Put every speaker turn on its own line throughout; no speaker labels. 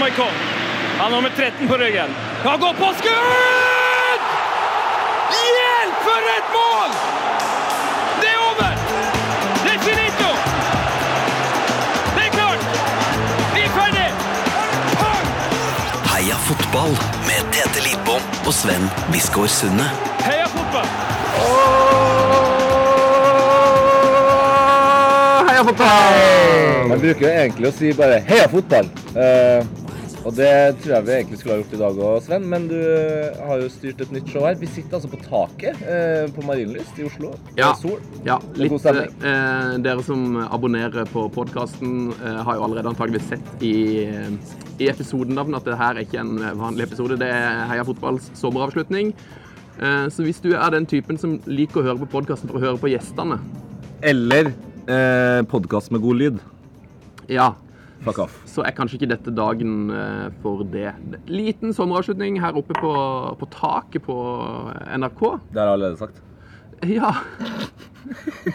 Maikon. Han har nummer 13 på ryggen. Han går på skudd! Hjelp, for et mål! Det er over! Det er finito! Det er klart! Vi er ferdig! Pang!
Heia fotball med Tete Lidbom og Sven Biskår Sunde.
Heia fotball!
Heia fotball!
Jeg bruker jo egentlig å si bare 'heia fotball'. Eh, og det tror jeg vi egentlig skulle ha gjort i dag òg, Sven. Men du har jo styrt et nytt show her. Vi sitter altså på taket eh, på Marienlyst i Oslo.
Ja.
Det er Sol.
Ja,
er god
litt, eh,
stemning.
dere som abonnerer på podkasten, eh, har jo allerede antageligvis sett i, eh, i episodenavnet at det her er ikke en eh, vanlig episode. Det er Heia fotballs sommeravslutning. Eh, så hvis du er den typen som liker å høre på podkasten for å høre på gjestene
Eller eh, podkast med god lyd.
ja,
Fuck off.
så er kanskje ikke dette dagen eh, for det. Liten sommeravslutning her oppe på, på taket på NRK.
Det har jeg allerede sagt.
Ja.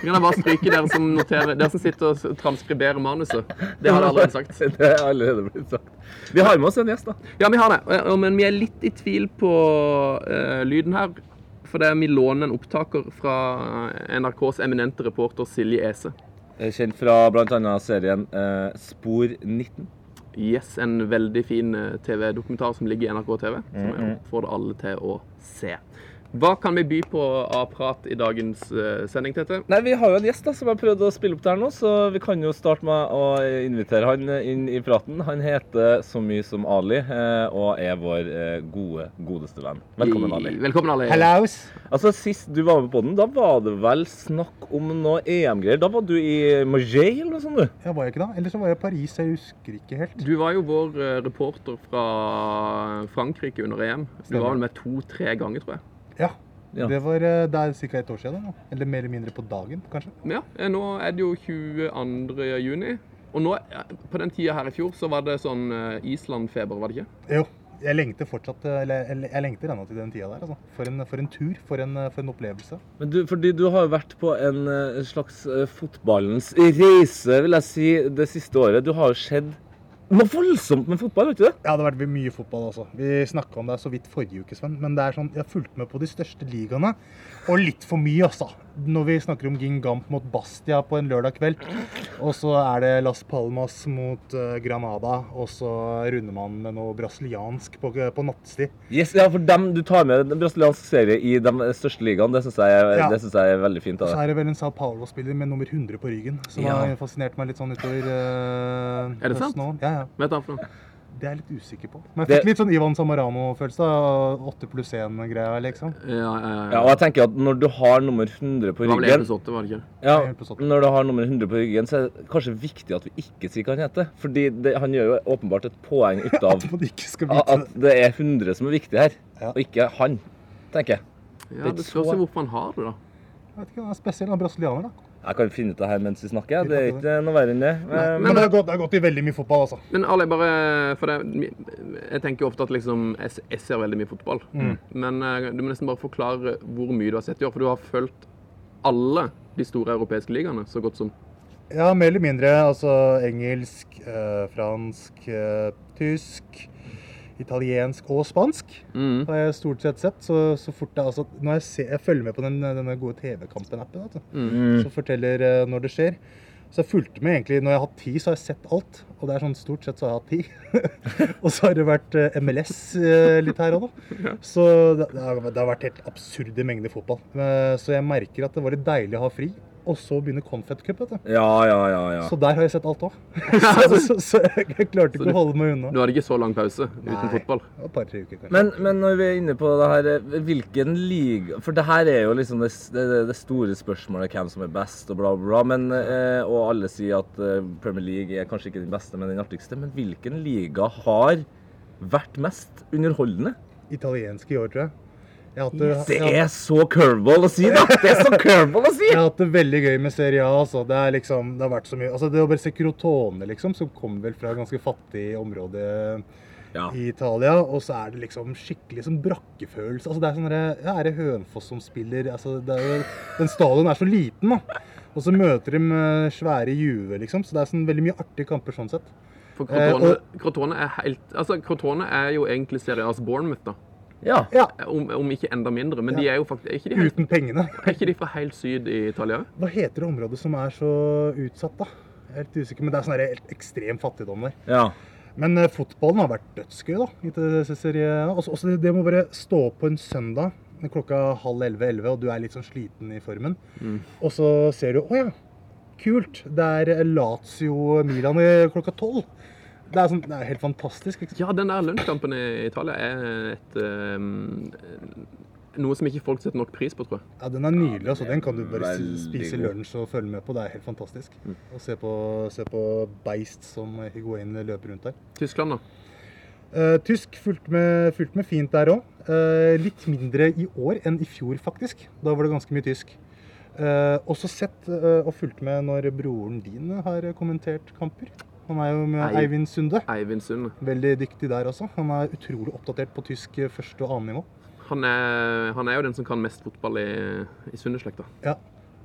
Kan jeg bare stryke dere som, noterer, dere som sitter og s- transkriberer manuset? Det har jeg allerede sagt.
Det har allerede blitt sagt. Vi har med oss en gjest, da.
Ja, vi har det. Eh, Men vi er litt i tvil på eh, lyden her. For det er vi låner en opptaker fra NRKs eminente reporter Silje Ese.
Kjent fra bl.a. serien eh, Spor 19.
Yes, en veldig fin eh, TV-dokumentar som ligger i NRK TV. Som jeg oppfordrer alle til å se. Hva kan vi by på av prat i dagens eh, sending, Tete?
Nei, Vi har jo en gjest da, som har prøvd å spille opp der nå, så vi kan jo starte med å invitere han eh, inn i praten. Han heter så mye som Ali, eh, og er vår eh, gode, godeste venn. Velkommen, Ali.
I- Velkommen, Ali.
Altså, Sist du var med på den, da var det vel snakk om noe EM-greier. Da var du i Marseille eller noe sånt, du?
Jeg var jo ikke da. Eller så var jeg i Paris, jeg husker ikke helt.
Du var jo vår eh, reporter fra Frankrike under EM. Du
Stemmer.
var vel med to-tre ganger, tror jeg.
Ja.
Ja.
Det var eh, det er ca. ett år siden. nå. Eller mer eller mindre på dagen, kanskje.
Men ja, eh, nå er det jo 22. juni. Og nå, eh, på den tida her i fjor, så var det sånn eh, Island-feber, var det ikke?
Jo. Jeg lengter fortsatt eh, Eller eller jeg lengter ennå til den tida der, altså. For en, for en tur. For en, eh, for en opplevelse.
Men du, fordi du har jo vært på en eh, slags eh, fotballens reise, vil jeg si, det siste året. Du har jo sett noe voldsomt med fotball, vet du det?
Ja, det har vært mye fotball også. Vi snakka om det så vidt forrige uke, Sven. Men det er sånn, jeg har fulgt med på de største ligaene. Og litt for mye, altså. Når vi snakker om Gingamp mot Bastia på en lørdag kveld, og så er det Las Palmas mot eh, Granada, og så runder man med noe brasiliansk på, eh, på nattstid.
Yes, ja, for dem, Du tar med den brasilianske serien i de største ligaene. Det syns jeg, er-
Ja.
det synes jeg er veldig fint.
Så
av deg.
er det vel en Sao Paulo-spiller med nummer 100 på ryggen, som
Ja.
har fascinert meg litt sånn utover eh,
Er det sant?
høsten og- Ja, ja.
Vet du hva for noe?
Det er jeg litt usikker på. Men jeg
Det-
fikk litt sånn Ivan Samarano-følelse. av 8 pluss 1-greia, liksom.
Ja, eh,
Ja, og jeg tenker at Når du har nummer 100 på
det var vel
ryggen,
episode åtte, var det ikke? det?
ja,
Jeg er på sånn.
når du har nummer 100 på ryggen, så er det kanskje viktig at vi ikke sier hva han heter. Fordi det, han gjør jo åpenbart et poeng ut av
At man ikke skal
at
vite
at det er 100 som er viktig her,
Ja.
og ikke han, tenker jeg.
Ja, Det spørs jo hvorfor han har det, da.
Jeg vet ikke, han er spesiell, han er brasilianer, da.
Jeg kan finne ut det her mens vi snakker. Det er ikke noe verre enn det. Eh,
Men det har gått, det har gått i veldig mye fotball, altså.
Men Ali, bare eh, for det, Jeg tenker jo ofte at liksom Jeg, s- jeg ser veldig mye fotball. Men eh, du må nesten bare forklare hvor mye du har sett i år. For du har fulgt alle de store europeiske ligaene så godt som.
Ja, mer eller mindre. Altså engelsk, eh, fransk, eh, tysk, italiensk og spansk. Det har jeg stort sett sett. Så, så fort det, altså, når jeg, ser, jeg følger med på den, denne gode TV-kampen-appen, vet du, som forteller eh, når det skjer. Så jeg fulgte med egentlig, Når jeg har hatt tid, så har jeg sett alt. Og det er sånn, stort sett så har jeg hatt tid. og så har det vært eh, MLS eh, litt her og nå. Så det, det, har, det har vært helt absurde mengder fotball. Eh, Så jeg merker at det var litt deilig å ha fri. Og så begynner Confed Cup. vet du.
Ja, ja, ja. ja.
Så der har jeg sett alt òg. så, så, så jeg klarte ikke å holde meg
Du
unna.
hadde ikke så lang pause uten
Nei.
fotball.
Et par-tre uker, kanskje.
Men, men når vi er inne på det her, eh, hvilken liga For det her er jo liksom det, s- det, det store spørsmålet hvem som er best, og bla, bla, bla. Men, eh, og alle sier at eh, Premier League er kanskje ikke den beste, men den artigste. Men hvilken liga har vært mest underholdende?
Italiensk i år, tror jeg. Jeg har hatt det,
Det
jeg har-
er så curveball å si, da! Det er så curveball å si!
jeg har hatt det veldig gøy med Serie A. Altså. Det, er liksom, det har vært så mye altså, Det å bare se Crotone, liksom, som kom vel fra et ganske fattig område
Ja.
i Italia. Og så er det liksom skikkelig sånn brakkefølelse. Altså, det er sånn der, ja, Er det Hønfoss som spiller altså, det er jo, Den stadion er så liten, da. Og så møter de eh, svære Juve, liksom. Så det er sånn veldig mye artige kamper sånn sett.
For
Eh,
Crotone,
og-
Crotone er helt Altså, Crotone er jo egentlig Serie A's Bournemouth, da.
Ja.
Ja,
Om, om ikke enda mindre. Men de er jo faktisk er ikke de, helt,
uten pengene.
er ikke de fra helt syd i Italia òg?
Hva heter det området som er så utsatt, da? Jeg er litt usikker, men det er sånn her helt ekstrem fattigdom der.
ja.
Men eh, fotballen har vært dødsgøy, da. i det Serie A. Også, også det, det med å bare stå opp på en søndag når klokka er halv elleve-elleve, og du er litt sånn sliten i formen,
Mm.
og så ser du Å ja, kult. Det er Lazio Milan i klokka tolv. Det er, sånn, det er helt fantastisk. Ikke? sant?
Ja, den der lunsjkampen i Italia er et eh, noe som ikke folk setter nok pris på, tror jeg.
Ja, den er nydelig. altså. Den kan du bare s-
Veldig
spise
god. Mm.
lunsj og følge med på. Det er helt fantastisk. Og se på, se på Beist som Higuain løper rundt der.
Tyskland, da.
Eh, tysk fulgte med, fulgt med fint der òg. litt mindre i år enn i fjor, faktisk. Da var det ganske mye tysk. Eh, også sett eh, og fulgt med når broren din har kommentert kamper. Han er jo med
Ei-
Eivind Sunde.
Eivind Sund.
Veldig dyktig der også. Han er utrolig oppdatert på tysk eh, første og annet nivå.
Han er, han er jo den som kan mest fotball i, i Sunde-slekta.
Ja.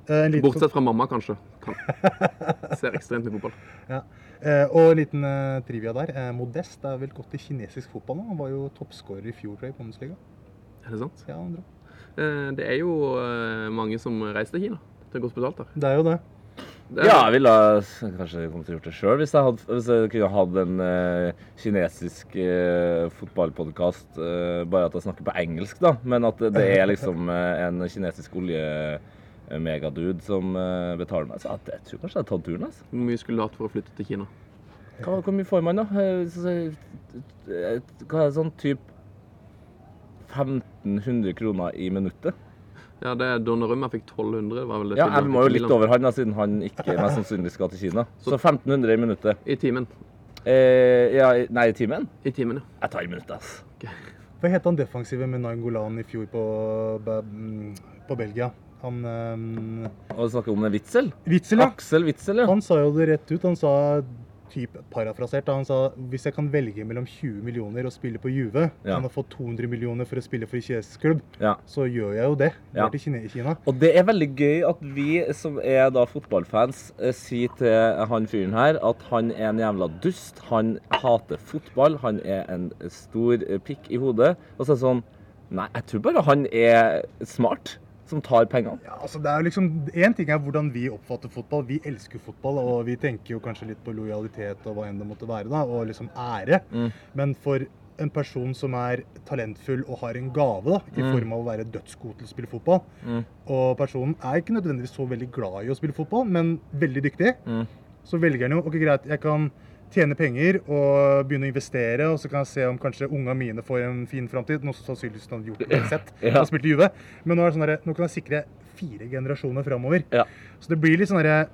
Eh, en liten-
Bortsett fra mamma, kanskje. Han ser ekstremt mye fotball.
Ja. Eh, og en liten eh, trivia der. Eh, Modest er vel gått i kinesisk fotball nå. Han var jo toppskårer i fjor tror jeg, i Bundesliga.
Er det sant?
Ja, han dro.
Eh, Det er jo eh, mange som reiser til Kina. Det er godt betalt der.
Det er jo det.
Det er,
Ja, jeg ville ha- kanskje kommet til å gjort det sjøl hvis, jeg hadde- hvis jeg kunne hatt en eh, kinesisk uh, fotballpodkast. bare at jeg snakker på engelsk, da. Men at det er liksom eh, en kinesisk oljemegadude som eh, betaler meg. Så jeg, jeg tror kanskje jeg har tatt turen. altså.
Hvor mye skulle du hatt for å flytte til Kina?
Hva, hvor mye får man, da? Eh, så- så- eh, Hva er det sånn type 1500 kroner i minuttet?
Ja, det er Donnarumma fikk 1200, var vel det?
Ja,
til-
jeg må jo
til
litt
Milan.
over han, da, siden han ikke mest sannsynlig skal til Kina. Så 1500 i minuttet.
I timen.
Eh, ja, i- nei, i timen?
I timen, ja.
Jeg tar i minuttet, altså.
Hva het han defensive med Nangolan i fjor på, Ba- mm, på Belgia? Han um,
Og snakke om en Witzel?
Witzel, ja.
Aksel Witzel, ja.
Han sa jo det rett ut. Han sa typ parafrasert. da. Han sa hvis jeg kan velge mellom 20 millioner og spille på Juve,
Ja.
kan jeg få 200 millioner for å spille for en kinesisk klubb,
ja.
så gjør jeg jo det.
Ja.
Går til Kine- Kina.
Og det er veldig gøy at vi som er da fotballfans, eh, sier til han fyren her at han er en jævla dust, han hater fotball, han er en stor eh, pikk i hodet. Og så er det sånn Nei, jeg tror bare han er smart, som tar pengene.
Ja, altså det er jo liksom, Én ting er hvordan vi oppfatter fotball. Vi elsker fotball, og vi tenker jo kanskje litt på lojalitet og hva enn det måtte være, da, og liksom ære. Men for en person som er talentfull og har en gave, da, i form av å være dødsgod til å spille fotball Og personen er ikke nødvendigvis så veldig glad i å spille fotball, men veldig dyktig. Så velger han jo ok greit, jeg kan tjene penger og begynne å investere, og så kan jeg se om kanskje unga mine får en fin framtid. Noe som sannsynligvis han hadde gjort det uansett.
Ja.
Han spilte i Juve. Men nå, er det sånn der, nå kan jeg sikre fire generasjoner framover.
Ja.
Så det blir litt sånn derre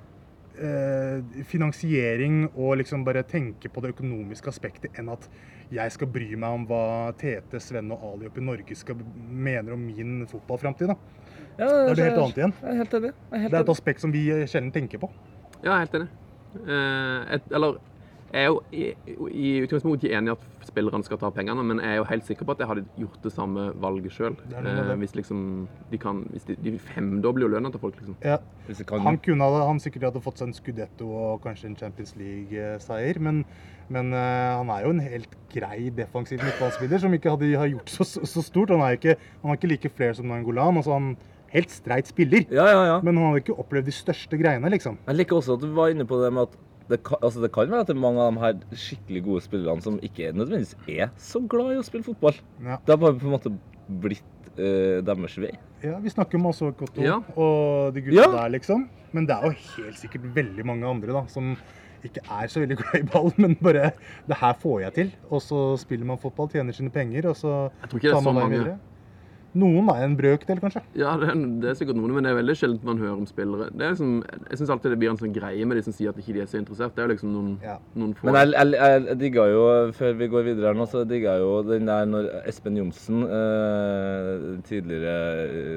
eh, finansiering og liksom bare tenke på det økonomiske aspektet enn at jeg skal bry meg om hva Tete, Sven og Ali oppe i Norge skal mener om min fotballframtid. da.
Ja,
Da er det helt annet igjen.
Jeg er helt enig. Jeg er helt
Det er et
enig.
aspekt som vi sjelden tenker på.
Ja, jeg er helt enig. Eh, et, eller jeg er jo i, i utgangspunktet ikke enig i at spillerne skal ta pengene, men jeg er jo helt sikker på at jeg hadde gjort det samme valget sjøl.
er noe med det.
hvis liksom de kan Hvis de, de femdobler jo lønna til folk, liksom.
Ja.
Hvis jeg kan-
Han kunne ha, han sikkert hadde fått seg en Scudetto og kanskje en Champions League-seier, men, men eh, han er jo en helt grei defensiv midtbanespiller som ikke hadde, har gjort så, så stort. Han er ikke, han er ikke like flere som Nangolan. Altså, han er helt streit spiller,
Ja, ja, ja.
men han har ikke opplevd de største greiene, liksom.
Jeg liker også at du var inne på det med at det kan, altså det kan være at det er mange av de her skikkelig gode spillerne som ikke nødvendigvis er så glad i å spille fotball.
Ja.
Det har bare på en måte blitt eh, deres vei.
Ja, Vi snakker om Asa Kotto
Ja.
og de gutta
Ja.
der, liksom. Men det er jo helt sikkert veldig mange andre da, som ikke er så veldig glad i ball, men bare Det her får jeg til. Og så spiller man fotball, tjener sine penger, og så
tror ikke det er så
veien
mange.
Noen er en brøkdel, kanskje.
Ja, det er, det er sikkert noen, men det er veldig sjelden man hører om spillere. Det er liksom, jeg syns alltid det blir en sånn greie med de som sier at ikke de er så interessert. Det er jo liksom noen,
Ja.
noen få.
Men jeg, jeg, jeg, jeg digga jo, før vi går videre her nå, så digga jeg jo den der når Espen Johnsen, eh, den tidligere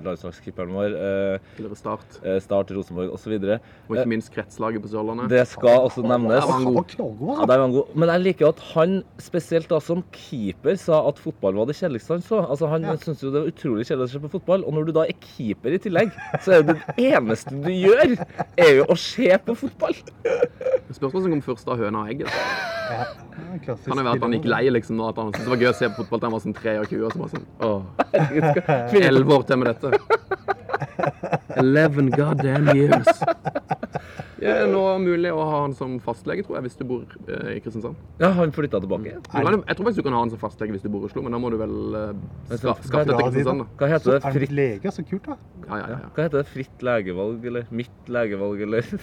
landslagskeeperen vår, eh,
Tidligere Start.
eh, Start Rosenborg osv.
Og ikke minst kretslaget på Sørlandet.
Eh, Det skal også nevnes.
Ja, han var
Han
god.
var knallgod,
Ja,
altså.
der var han god. Men jeg liker at han spesielt da som keeper sa at fotball var det kjedeligste han så. Altså Han
Ja.
syntes jo det var utrolig kjedelig å se på fotball. Og når du da er keeper i tillegg, så er det det eneste du gjør, er jo å se på fotball.
Spørsmålet som kom først av høna og egget. da.
altså. Ja, klassisk
Kan det være at han
dilemma.
gikk lei, liksom, da, at han syntes det var gøy å se på fotball til han var sånn 23 og så bare sånn Åh, elleve år til med dette. Eleven goddamn years. Det er nå mulig å ha han som fastlege, tror jeg, hvis du bor eh, i Kristiansand.
Ja, han flytta tilbake.
Mm.
Du kan, jeg tror faktisk du kan ha han som fastlege hvis du bor i Oslo, men da må du vel eh,
sånn
ska, skatte
Dra
til
dit, da.
Kristiansand, da.
Hva heter det?
Er han
Fritt,
lege? Så kult, da.
Ja, ja,
ja.
ja.
Hva heter det? Fritt legevalg, eller mitt legevalg, eller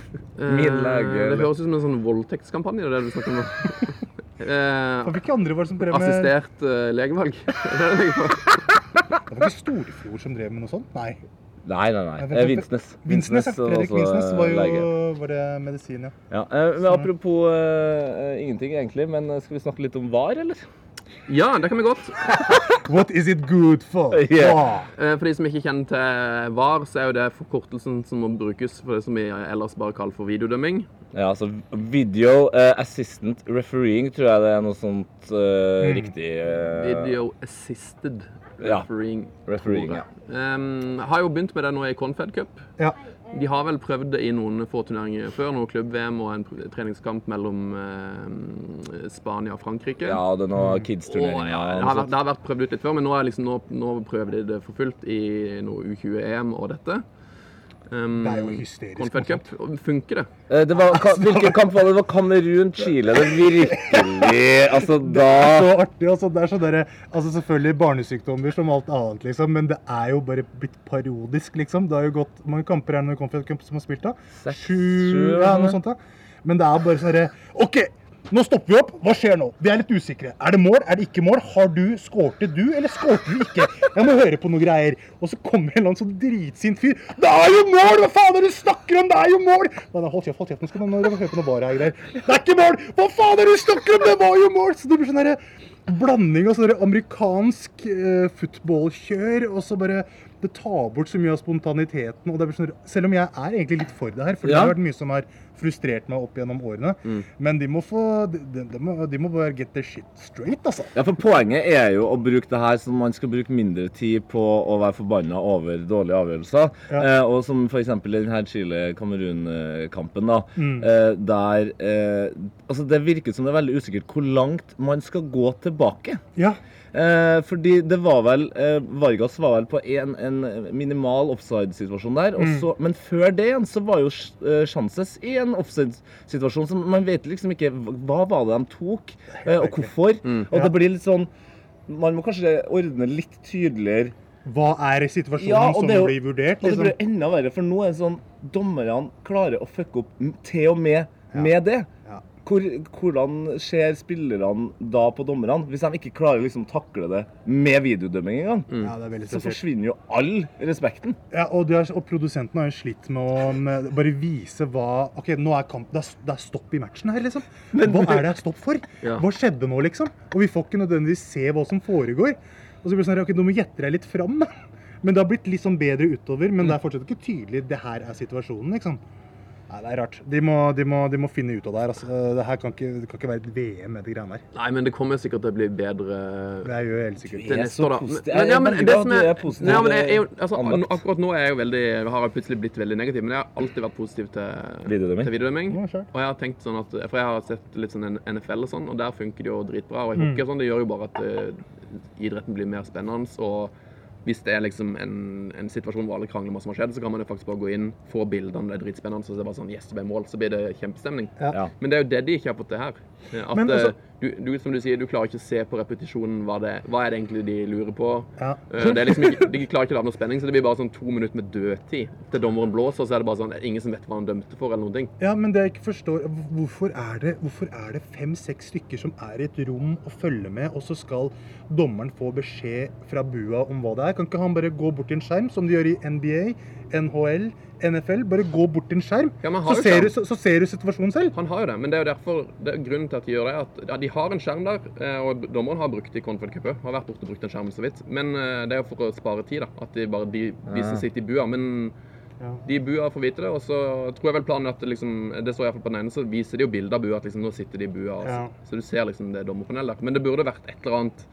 min
Eh,
lege,
Det
eller
høres ut som en sånn voldtektskampanje, det er det du snakker om nå.
Og
Eh,
Hvilke andre var det som drev med
assistert eh, legevalg. Det er det jeg tenker på.
Det var ikke Storfjord som drev med noe sånt? Nei.
Nei, nei, nei.
Jeg vet
Eh,
ikke.
Vinsnes.
Vinsnes, ja.
var
Fredrik
også,
Vinsnes var
eh,
jo
lege.
var det medisin, ja.
Ja, eh, men Apropos eh, eh, ingenting, egentlig, men eh, skal vi snakke litt om VAR, eller?
Ja, det kan vi godt.
What is it good for?
Yeah.
Wow.
Eh, For de som ikke kjenner til VAR, så er jo det forkortelsen som må brukes for det som vi ellers bare kaller for videodømming.
Ja, altså Video eh, Assistant Refereeing, tror jeg det er noe sånt
Mm.
eh, riktig eh,
Video assisted
Ja.
refereeing.
Refereeing, ja.
Em, har jo begynt med det nå i Confed Cup.
Ja.
De har vel prøvd det i noen få turneringer før, noe klubb-VM og en pr- treningskamp mellom eh, Spania og Frankrike.
Ja, det er
Mm.
noe
Og,
kids-turnering.
ja, det, har vært, det har vært prøvd ut litt før, men nå, er liksom, nå, nå prøver de det for fullt i noe U20-EM og dette. Um,
Det er jo hysterisk
Confed Cup. Funker det?
Eh, Det var, ka- hvilken kamp var det? Det var Kamerun-Chile. Det er virkelig Altså, da
Så artig. Altså, det er sånn derre- altså selvfølgelig barnesykdommer som alt annet, liksom, men det er jo bare blitt parodisk, liksom. Det har jo gått mange kamper her når Confed Cup som har spilt, da.
Seks,
Sju,
sju,
ja,
eller?
noe sånt da. Men det er bare sånn derre OK, nå stopper vi opp. Hva skjer nå? Vi er litt usikre. Er det mål? Er det ikke mål? Har du Skårte du, eller skårte du ikke? Jeg må høre på noen greier. Og så kommer en eller annen sånn dritsint fyr. Det er jo mål! Hva faen er det du snakker om? Det er jo mål! Nei, nei, hold kjeft, hold kjeft. Nå skal man høre på noe bare her greier. Det er ikke mål! Hva faen er det du snakker om? Det var jo mål! Så det blir sånn derre blanding av sånn derre amerikansk eh, footballkjør, og så bare det tar bort så mye av spontaniteten. og det blir sånn, Selv om jeg er egentlig litt for det her, for det
Ja.
har vært mye som har frustrert meg opp gjennom årene.
Mm.
Men de må få de, de, de, må, de må bare get the shit straight, altså.
Ja, for Poenget er jo å bruke det her som man skal bruke mindre tid på å være forbanna over dårlige avgjørelser.
Ja.
Eh, og som f.eks. denne Chile-Kamerun-kampen, da. Eh, der eh, Altså, det virker som det er veldig usikkert hvor langt man skal gå tilbake.
Ja,
Eh, fordi det var vel eh, Vargas var vel på en, en minimal offside-situasjon der. og så- men før det igjen så var jo Sch- eh, Chances i en offside-situasjon. Så man vet liksom ikke hva hva var det de tok, eh, og hvorfor. Og
Ja.
det blir litt sånn Man må kanskje ordne litt tydeligere.
Hva er situasjonen
Ja, og
som
det er jo-
blir vurdert?
Og det
Liksom?
blir enda verre, for nå er det sånn dommerne klarer å fucke opp m- til og med med det.
Ja.
Hvor, hvordan ser spillerne da på dommerne, hvis de ikke klarer liksom å takle det med videodømming engang?
Ja, det er veldig
så
spesielt.
forsvinner jo all respekten.
Ja, og, de har, og produsenten har jo slitt med å med, bare vise hva OK, nå er kamp, det, er, det er stopp i matchen her, liksom. Hva er det det er stopp for?
Ja.
Hva skjedde nå, liksom? Og vi får ikke nødvendigvis se hva som foregår. Og så blir det sånn her, OK, du må gjette deg litt fram, da. Men det har blitt litt sånn bedre utover. Men det er fortsatt ikke tydelig det her er situasjonen, liksom. Nei, det er rart. De må, de må, de må finne ut av det her. altså. Det her kan ikke, det kan ikke være et VM med de greiene her.
Nei, men det kommer sikkert til å bli bedre
Det er jo helt sikkert.
Det er så
neste år, da.
positivt.
Men- men- ja, men
Jeg er
det
veldig glad
som
at du
er-
er positiv,
Nei, men jeg er jo-
eh,
altså,
anlagt.
nå- Akkurat nå er jeg jo veldig, har jeg plutselig blitt veldig negativ, men jeg har alltid vært positiv til
Videodømming.
til
Ja,
videodømming.
sure.
Og jeg har tenkt sånn at, For jeg har sett litt sånn en NFL og sånn, og der funker det jo dritbra. Og i hockey og sånn, det gjør jo bare at eh, idretten blir mer spennende. og hvis det er liksom en, en situasjon hvor alle krangler om hva som har skjedd, så kan man jo faktisk bare gå inn, få bildene, det er dritspennende, så det er bare sånn Yes, det ble mål. Så blir det kjempestemning.
Ja.
Men det er jo det de ikke har fått til her. At
Men altså-
eh, du, du, som du sier, du klarer ikke å se på repetisjonen hva, det, hva er det egentlig de lurer på.
Ja.
Eh, Det er liksom ikke, de klarer ikke å lage noe spenning, så det blir bare sånn to minutter med dødtid til dommeren blåser, og så er det bare sånn ingen som vet hva han dømte for, eller noen ting.
Ja, men det jeg ikke forstår Hvorfor er det, hvorfor er det fem-seks stykker som er i et rom og følger med, og så skal dommeren få beskjed fra bua om hva det er? Kan ikke han bare gå bort til en skjerm, som de gjør i NBA, NHL, NFL? Bare gå bort til en skjerm,
Ja, men han har
så,
jo skjerm.
ser du, så, så ser du situasjonen selv.
Han har jo det, men det er jo derfor det er grunnen til at de gjør det, er at ja, de har en skjerm der, eh, og dommeren har brukt det i Confed Cup òg. Har vært borte og brukt den skjermen så vidt. Men eh, det er jo for å spare tid, da. At de bare de, de som sitter i bua. Men
Ja.
de i bua får vite det, og så tror jeg vel planen er at det liksom Det står iallfall på den ene, så viser de jo bilder av bua at liksom nå sitter de i bua. Altså.
Ja.
Så du ser liksom det dommerpanelet der. Men det burde vært et eller annet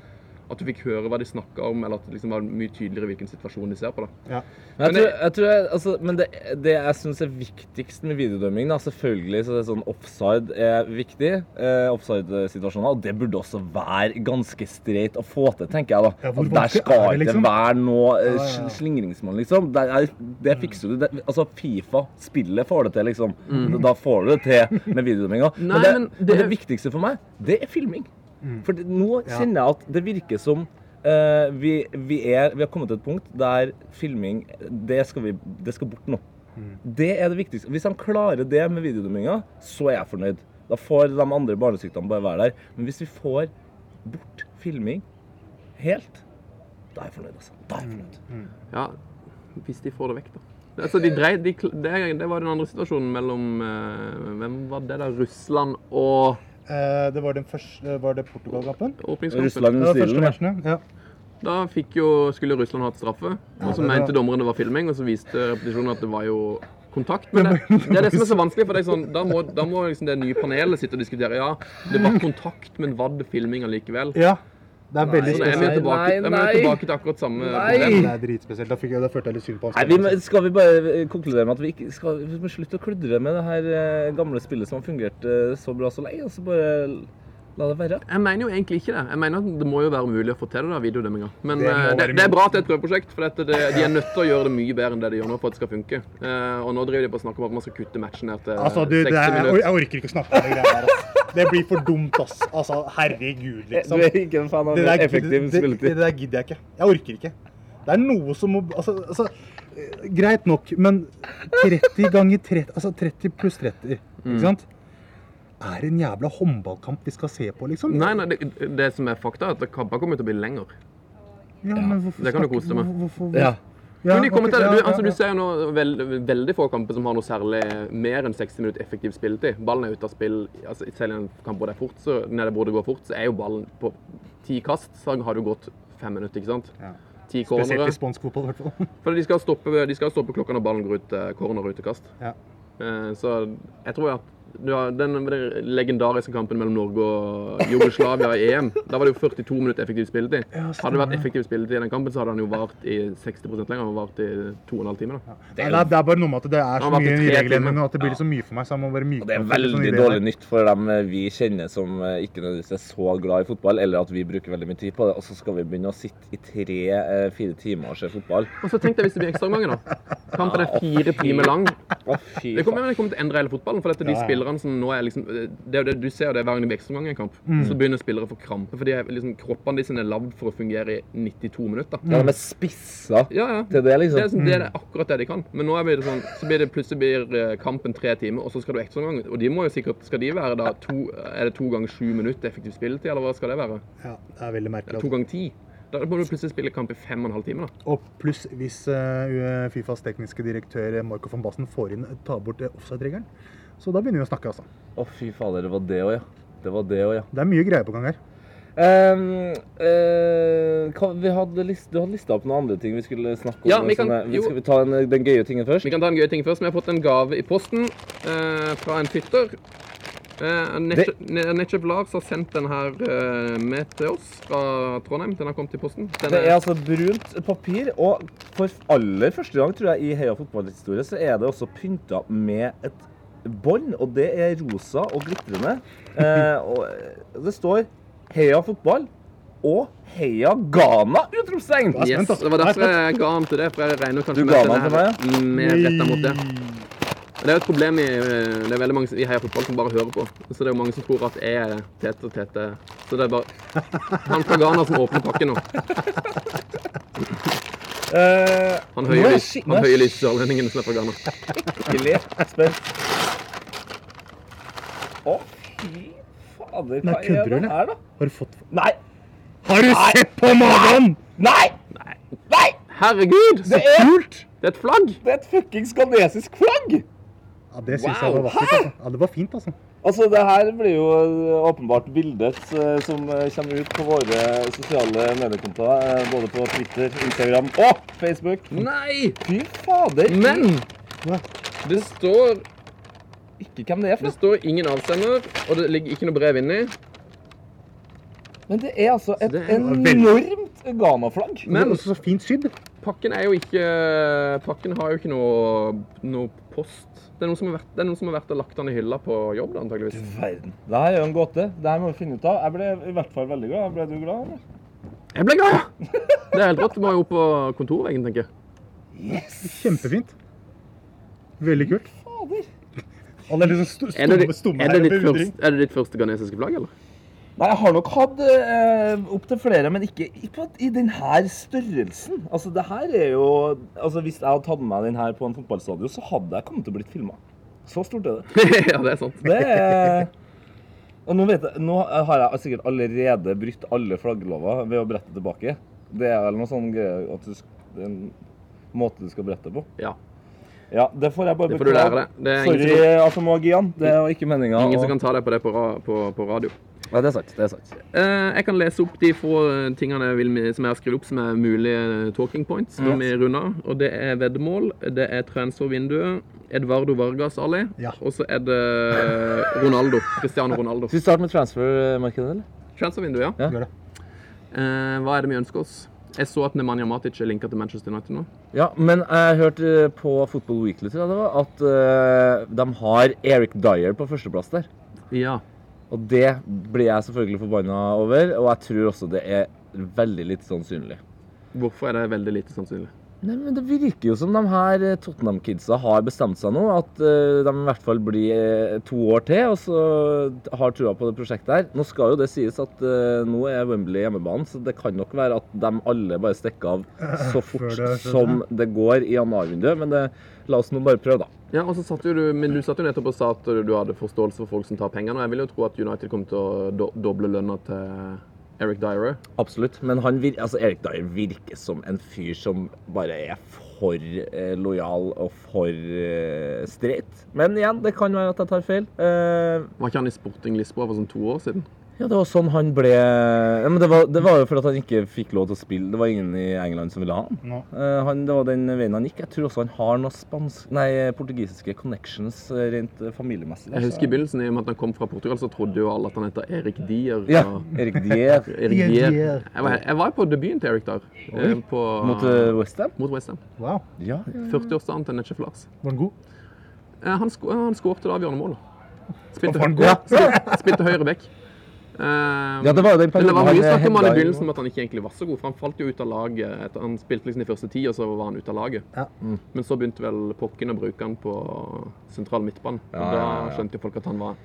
At du fikk høre hva de snakka om, eller at det liksom var mye tydeligere hvilken situasjon de ser på. da.
Ja.
Men, jeg
Men
tror,
det-
jeg tror jeg, altså, men det, det jeg syns er viktigst med videodømming, da, selvfølgelig så det er sånn offside er viktig. Eh, Offside-situasjoner. Og det burde også være ganske streit å få til, tenker jeg. da.
Ja, hvor
At Altså, der
vanskelig
skal
er det,
ikke
liksom?
være noe eh,
Ja, ja, ja.
sl- slingringsmonn, liksom. Det, er, det fikser du. Det, altså, Fifa-spillet får det til, liksom. Da får du det til med videodømminga.
Mm. Nei,
Men, det-
men
men
det-
det viktigste for meg, det er filming. For det, nå
Mm. Ja.
kjenner jeg at det virker som eh, vi, vi, er, vi har kommet til et punkt der filming Det skal, vi, det skal bort nå.
Mm.
Det er det viktigste. Hvis de klarer det med videodømminga, så er jeg fornøyd. Da får de andre barnesykdommene bare være der. Men hvis vi får bort filming helt, da er jeg fornøyd, altså. Da er jeg fornøyd.
Ja, Hvis de får det vekk, da. Det- Altså, de dreid, de, kl- det, det var den andre situasjonen mellom eh, Hvem var det, da? Russland og
Eh, det var den første Var det Portugal-kampen?
åpningskampen?
Russland
Det var første
New Zealand.
matchen, ja.
Da fikk jo, skulle Russland hatt straffe. Og så
det var-
mente dommeren det var filming, og så viste repetisjonen at det var jo kontakt. Men det, det er det som er så vanskelig, for det er sånn, da må, da må liksom det nye panelet sitte og diskutere. Ja, det var kontakt, men var det filming allikevel?
ja. Det er veldig
Så jeg mener
spesielt.
tilbake, jeg mener
nei.
tilbake til akkurat samme problem.
Det er dritspesielt. Da, fikk jeg, da følte jeg litt synd på
Nei,
han.
vi, må- skal vi bare eh, konkludere med at vi ikke skal vi må slutte å kludre med det her eh, gamle spillet som har fungert eh, så bra så lenge, og så bare la det være?
Jeg mener jo egentlig ikke det. Jeg mener at Det må jo være mulig å få til det, da, videodømminga. Men eh,
Det må
det,
være
det,
mulig.
er bra at det er et prøveprosjekt, for dette, det, de er nødt til å gjøre det mye bedre enn det de gjør nå for at det skal funke. Eh, og nå driver de på å snakke om at man skal kutte matchen ned til
Altså, du, det
60
er, jeg, or-
minutter.
jeg orker ikke å snakke om det greia der. ass. altså. Det blir for dumt, ass. Altså, herregud, liksom.
ikke en fan av
der- det, det der gidder jeg ikke. Jeg orker ikke. Det er noe som må Altså, altså eh, greit nok, men 30 ganger 30 Altså 30 pluss 30,
Mm.
ikke sant? Er det en jævla håndballkamp vi skal se på, liksom?
Nei, nei, det, det som er fakta, er at kamper kommer til å bli lenger.
Ja, men hvorfor
Det kan du
snakke-
kose deg med.
hvor- Hvorfor,
Ja.
Ja,
Men de kommer
ok,
til,
ja,
du,
ja,
altså, du
ja.
ser jo nå veld, veldig få kamper som har noe særlig mer enn 60 minutter effektiv spilletid. Ballen er ute av spill. Altså, selv i en kamp hvor det er fort, så, når det burde gå fort, så er jo ballen på ti kast, så har det jo gått fem minutter, ikke sant?
Ja.
Ti
Spesielt
cornere.
i spansk fotball, i hvert fall.
For de skal stoppe, de skal stoppe klokka når ballen går ut eh, corner og utekast.
Ja.
Eh, Så jeg tror at du har den, den legendariske kampen mellom Norge og Jugoslavia i EM, da var det jo 42 minutter effektiv spilletid.
Ja, stemmer
Hadde det vært
det.
effektiv spilletid i den kampen, så hadde han jo vart i 60 lenger. Han hadde vart i 2,5 timer. da.
Det er, det er bare noe med at det er så
Han har
mye
vært i
i
tre
reglene
timer.
nå at det blir så mye for meg, så jeg må være myk.
Og det er
nok til sånne
veldig
ideer.
dårlig nytt for dem eh, vi kjenner som eh, ikke nødvendigvis er så glad i fotball, eller at vi bruker veldig mye tid på det, og så skal vi begynne å sitte i tre-fire timer og se fotball.
Og så tenkte jeg hvis det blir ekstraomganger, da. Kampen er fire timer lang.
Å, fy
Det kommer, men det kommer til å endre hele fotballen. For dette, de
Ja, ja.
spillerne som nå er liksom det, er jo det, Du ser jo det hver gang det blir ekstraomgang i en kamp.
Mm.
Så begynner spillere å få krampe. For de er liksom, kroppene deres er lagd for å fungere i 92 minutter.
Ja, de er spissa
Ja, ja.
til det,
Det er,
liksom.
liksom, det er akkurat det de kan. Men nå er det sånn, så blir det plutselig blir eh, kampen tre timer, og så skal du ekstraomgang. Og de må jo sikkert Skal de være da to Er det to ganger sju minutter effektiv spilletid, eller hva skal det være?
Ja, det er veldig merkelig.
To
altså.
ganger ti? Da må du plutselig spille kamp i fem og en halv time, da.
Og pluss hvis eh, Fifas tekniske direktør eh, Marco van Basten får inn, tar bort eh, offside-regelen. Så da begynner vi å snakke, altså.
Å, fy fader, det var det òg, ja. Det var det òg, ja.
Det er mye greier på gang her.
Ehm, eh, hva- vi hadde list, du hadde lista opp noen andre ting vi skulle snakke om.
Ja, vi kan-
sånne- vi
jo.
skal vi ta den, den gøye tingen først?
Vi kan ta en gøy ting først. Vi har fått en gave i posten eh, fra en fytter. Eh, Netch- Ne- Netchup Lars har sendt den her eh, med til oss fra Trondheim. Den har kommet i posten. Den
Det er
er,
altså brunt papir, og for aller første gang tror jeg i Heia fotballhistorie så er det også pynta med et bånd, og det er rosa og glitrende. Eh, og det står Heia fotball og Heia Ghana! Utropstegn!
yes, det var derfor jeg ga den til det. For jeg regner kanskje
Du
med
ga
at
den til
er mer retta mot det.
Mm.
Det er jo et problem i, eh, det er veldig mange i Heia Fotball som bare hører på. Så det er jo mange som tror at jeg er Tete og Tete. Så det er bare han fra Ghana som åpner pakken nå.
Eh,
Han
nå er jeg
høyelys-
skik- nå
han
er jeg
høylyste sørlendingen som er fra Ghana.
skikkelig spent. Å, fy fader,
Nei,
hva
kødder
er
du,
det
eller?
her, da?
Har du fått
Nei!
Har du sett på magen?!
Nei! Nei!
Herregud!
Det er,
Det er et flagg!
det er et fuckings ghanesisk flagg!
Ja, det syns
Wow.
jeg var vakkert. Altså. Ja, det var fint, altså.
Altså, det her blir jo eh, åpenbart bildet eh, som eh, kommer ut på våre sosiale mediekontoer. eh, Både på Twitter, Instagram og Facebook.
Nei!
Fy fader!
Mm. Men
Hva?
det står,
Ikke hvem det er,
det
forresten.
står ingen avsender, og det ligger ikke noe brev inni.
Men det er altså et
det er
enormt Ghana-flagg.
Men det
Men-
er også så fint sydd.
Pakken er jo ikke Pakken har jo ikke noe, noe post. Det er noen som har vært, det er noen som har vært og lagt den i hylla på jobb, da, antageligvis.
Verden. Det her er jo en gåte. Det her må vi finne ut av. Jeg ble i hvert fall veldig glad. Ble du glad, eller?
Jeg ble glad! ja. Det er helt rått. Du må jo opp på kontorveggen, tenker jeg.
Kjempefint. Veldig kult.
Fader.
Han er liksom st-
Er det,
stumme,
ditt-
stumme
er
her
det,
i
ditt,
beundring.
første, er det ditt første ghanesiske flagg, eller?
Nei, jeg har nok hatt eh, opptil flere, men ikke i, på, i den her størrelsen. Altså, det her er jo Altså, hvis jeg hadde tatt med meg den her på en fotballstadion, så hadde jeg kommet til å blitt filma. Så stort er det.
ja, det er sant.
Det er Og nå, vet jeg, nå har jeg sikkert allerede brytt alle flagglover ved å brette tilbake. Det er vel noe sånn greie at du, sk- det er en måte du skal brette på.
Ja.
Ja, det får jeg bare
Det får du lære deg. Det er ingen
Sorry,
som kan,
Asamoah Gyan. Det var ikke meninga.
ingen som kan ta deg på det på, ra- på, på radio.
Nei, det er sant. det er sant.
Eh, jeg kan lese opp de få eh, tingene jeg vil, som jeg har skrevet opp som er mulige eh, talking points. før vi runder. Og det er veddemål, det er transfervinduet, Edvardo Vargas Ali,
Ja.
og så er det Ronaldo. Cristiano Ronaldo.
Skal vi starte med transfermarkedet, eller?
Transfervinduet, ja.
Ja.
Gjør det.
Eh, hva er det vi ønsker oss? Jeg så at Nemanja Matic er linka til Manchester United nå.
Ja, men jeg hørte eh, på Football Weekly tror jeg det var, at eh, de har Eric Dyer på førsteplass der.
Ja.
Og det blir jeg selvfølgelig forbanna over, og jeg tror også det er veldig litt sannsynlig.
Hvorfor er det veldig lite sannsynlig?
Nei, men Det virker jo som de her eh, Tottenham-kidsa har bestemt seg nå. At eh, de i hvert fall blir eh, to år til, og så har trua på det prosjektet her. Nå skal jo det sies at eh, nå er Wembley hjemmebanen, så det kan nok være at de alle bare stikker av så fort
Før det-
som det går i januarvinduet. Men det, la oss nå bare prøve, da.
Ja, og så satt jo du, Men du satt jo nettopp og sa at du hadde forståelse for folk som tar penger nå. Jeg vil jo tro at United kommer til å do doble lønna til Eric Dyer.
Absolutt. Men han vir altså, Erik Dyer virker som en fyr som bare er for eh, lojal og for eh, streit. Men igjen, det kan være at jeg tar feil. Eh,
Var ikke han i Sporting Lisboa for sånn to år siden?
Ja, det var sånn han ble ja, men det, var, det var jo fordi at han ikke fikk lov til å spille. Det var ingen i England som ville ha han.
Nå.
Eh, han det var den veien han gikk. Jeg tror også han har noen spansk... Nei, portugisiske connections eh, rent eh, familiemessig.
Jeg husker i begynnelsen, i og med at han kom fra Portugal, så trodde jo alle at han heter Erik Dier.
Ja.
og-
Erik
Erik
Dier
Dier,
Dier.
Dier.
Jeg var, jeg var på debuten til Erik Dier. eh, På,
mot uh, Westham.
mot West Ham.
Wow,
Ja.
40-årsdagen til Netchef Lars.
var den god?
Eh, Han, sko han skårte det avgjørende målet. Spilte,
Var
hø-
den god?
spilte høyre back. Eh,
ja, det var jo
Men
den
det
perioden eh,
var mye snakk om han i
hedda
begynnelsen om at han ikke egentlig var så god, for han falt jo ut av laget. Etter, han spilte liksom de første ti, og så var han ute av laget.
Ja.
Men så begynte vel Pokken å bruke han på sentral midtbane. og
Ja, ja, ja,
Da
ja.
skjønte jo folk at han var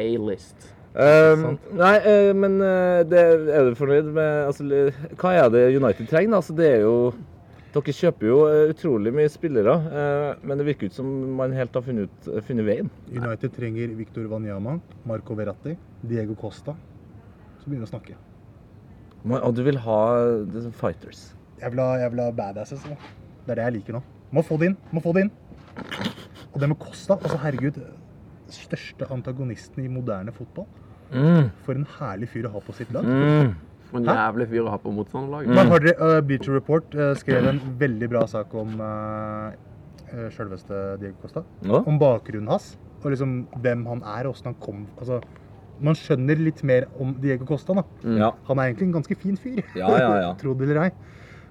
A-list.
Eh, nei, eh, men eh, det, er du fornøyd med altså, le- Hva er det United trenger? da? Altså, det er jo Dere kjøper jo eh, utrolig mye spillere, eh, men det virker ut som man helt har funnet, ut, eh, funnet veien.
United trenger Victor Wanyama, Marco Verratti, Diego Costa. Så begynner vi å snakke.
Man, og du vil ha det som fighters.
Jeg vil ha, jeg vil ha badasses. nå. Det er det jeg liker nå. Må få det inn. Må få det inn. Og det med Costa. Altså, herregud. Største antagonisten i moderne fotball.
Mm.
For en herlig fyr å ha på sitt lag.
For en jævlig fyr å ha på motstanderlaget.
Mm.
Men har dere, uh, Bleacher Report eh, skrev en veldig bra sak om uh, sjølveste Diego Costa.
Ja.
Om bakgrunnen hans, og liksom hvem han er, og åssen han kom Altså, man skjønner litt mer om Diego Costa, da.
Mm.
Ja.
Han er egentlig en ganske fin fyr,
Ja, ja, ja.
tro det eller ei.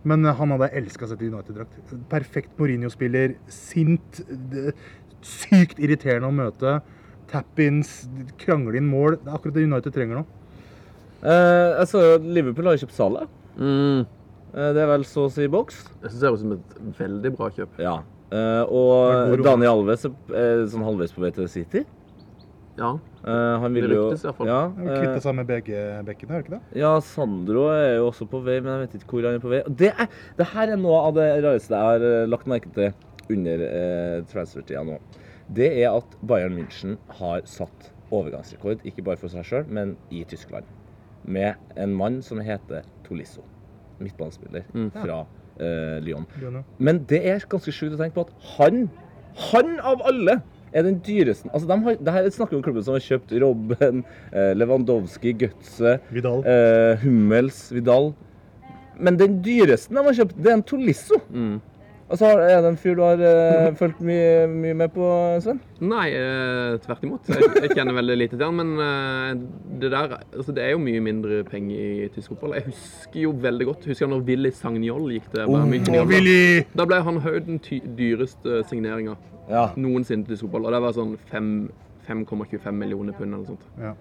Men eh, han hadde elska seg til United-drakt. Perfekt Mourinho-spiller, sint, d- sykt irriterende å møte. Tap-ins, krangle inn mål. Det er akkurat det United trenger nå.
Eh, jeg så jo at Liverpool har kjøpt Salah.
Mm.
Eh, det er vel så å si boks.
Jeg synes det høres ut som et veldig bra kjøp.
Ja. Eh, og
Margot Robbie.
Daniel Alves er eh, sånn halvveis på vei til City.
Ja.
Eh, han vil
Det
jo
ryktes i hvert fall.
ja, eh,
Kvitte seg med begge bekkene, er det ikke det?
Ja, Sandro er jo også på vei, men jeg vet ikke hvor han er på vei. Og det, er, det her er noe av det rareste jeg har eh, lagt merke til under eh, transfertida nå. Det er at Bayern München har satt overgangsrekord, ikke bare for seg sjøl, men i Tyskland. Med en mann som heter Tolisso. Midtbanespiller fra eh, Lyon.
Lionel?
Men det er ganske sjukt å tenke på at han, han av alle, er den dyreste Altså, de har, det her snakker vi om klubben som har kjøpt Robben, eh, Lewandowski, Götze
Vidal.
Eh, Hummels, Vidal. Men den dyreste de har kjøpt, det er en Tolisso. Og så er det en fyr du har eh, fulgt mye, mye med på, Sven?
Nei, eh, tvert imot. Jeg, jeg kjenner veldig lite til han, men eh, det der altså Det er jo mye mindre penger i tysk fotball. Jeg husker jo veldig godt Husker jeg når Willy Sagnol gikk til Bermikniol?
Og Willy!
Da ble han høy den ty dyreste signeringa
Ja.
noensinne til tysk fotball. Og det var sånn fem- 5,25 millioner pund eller noe sånt.
Ja.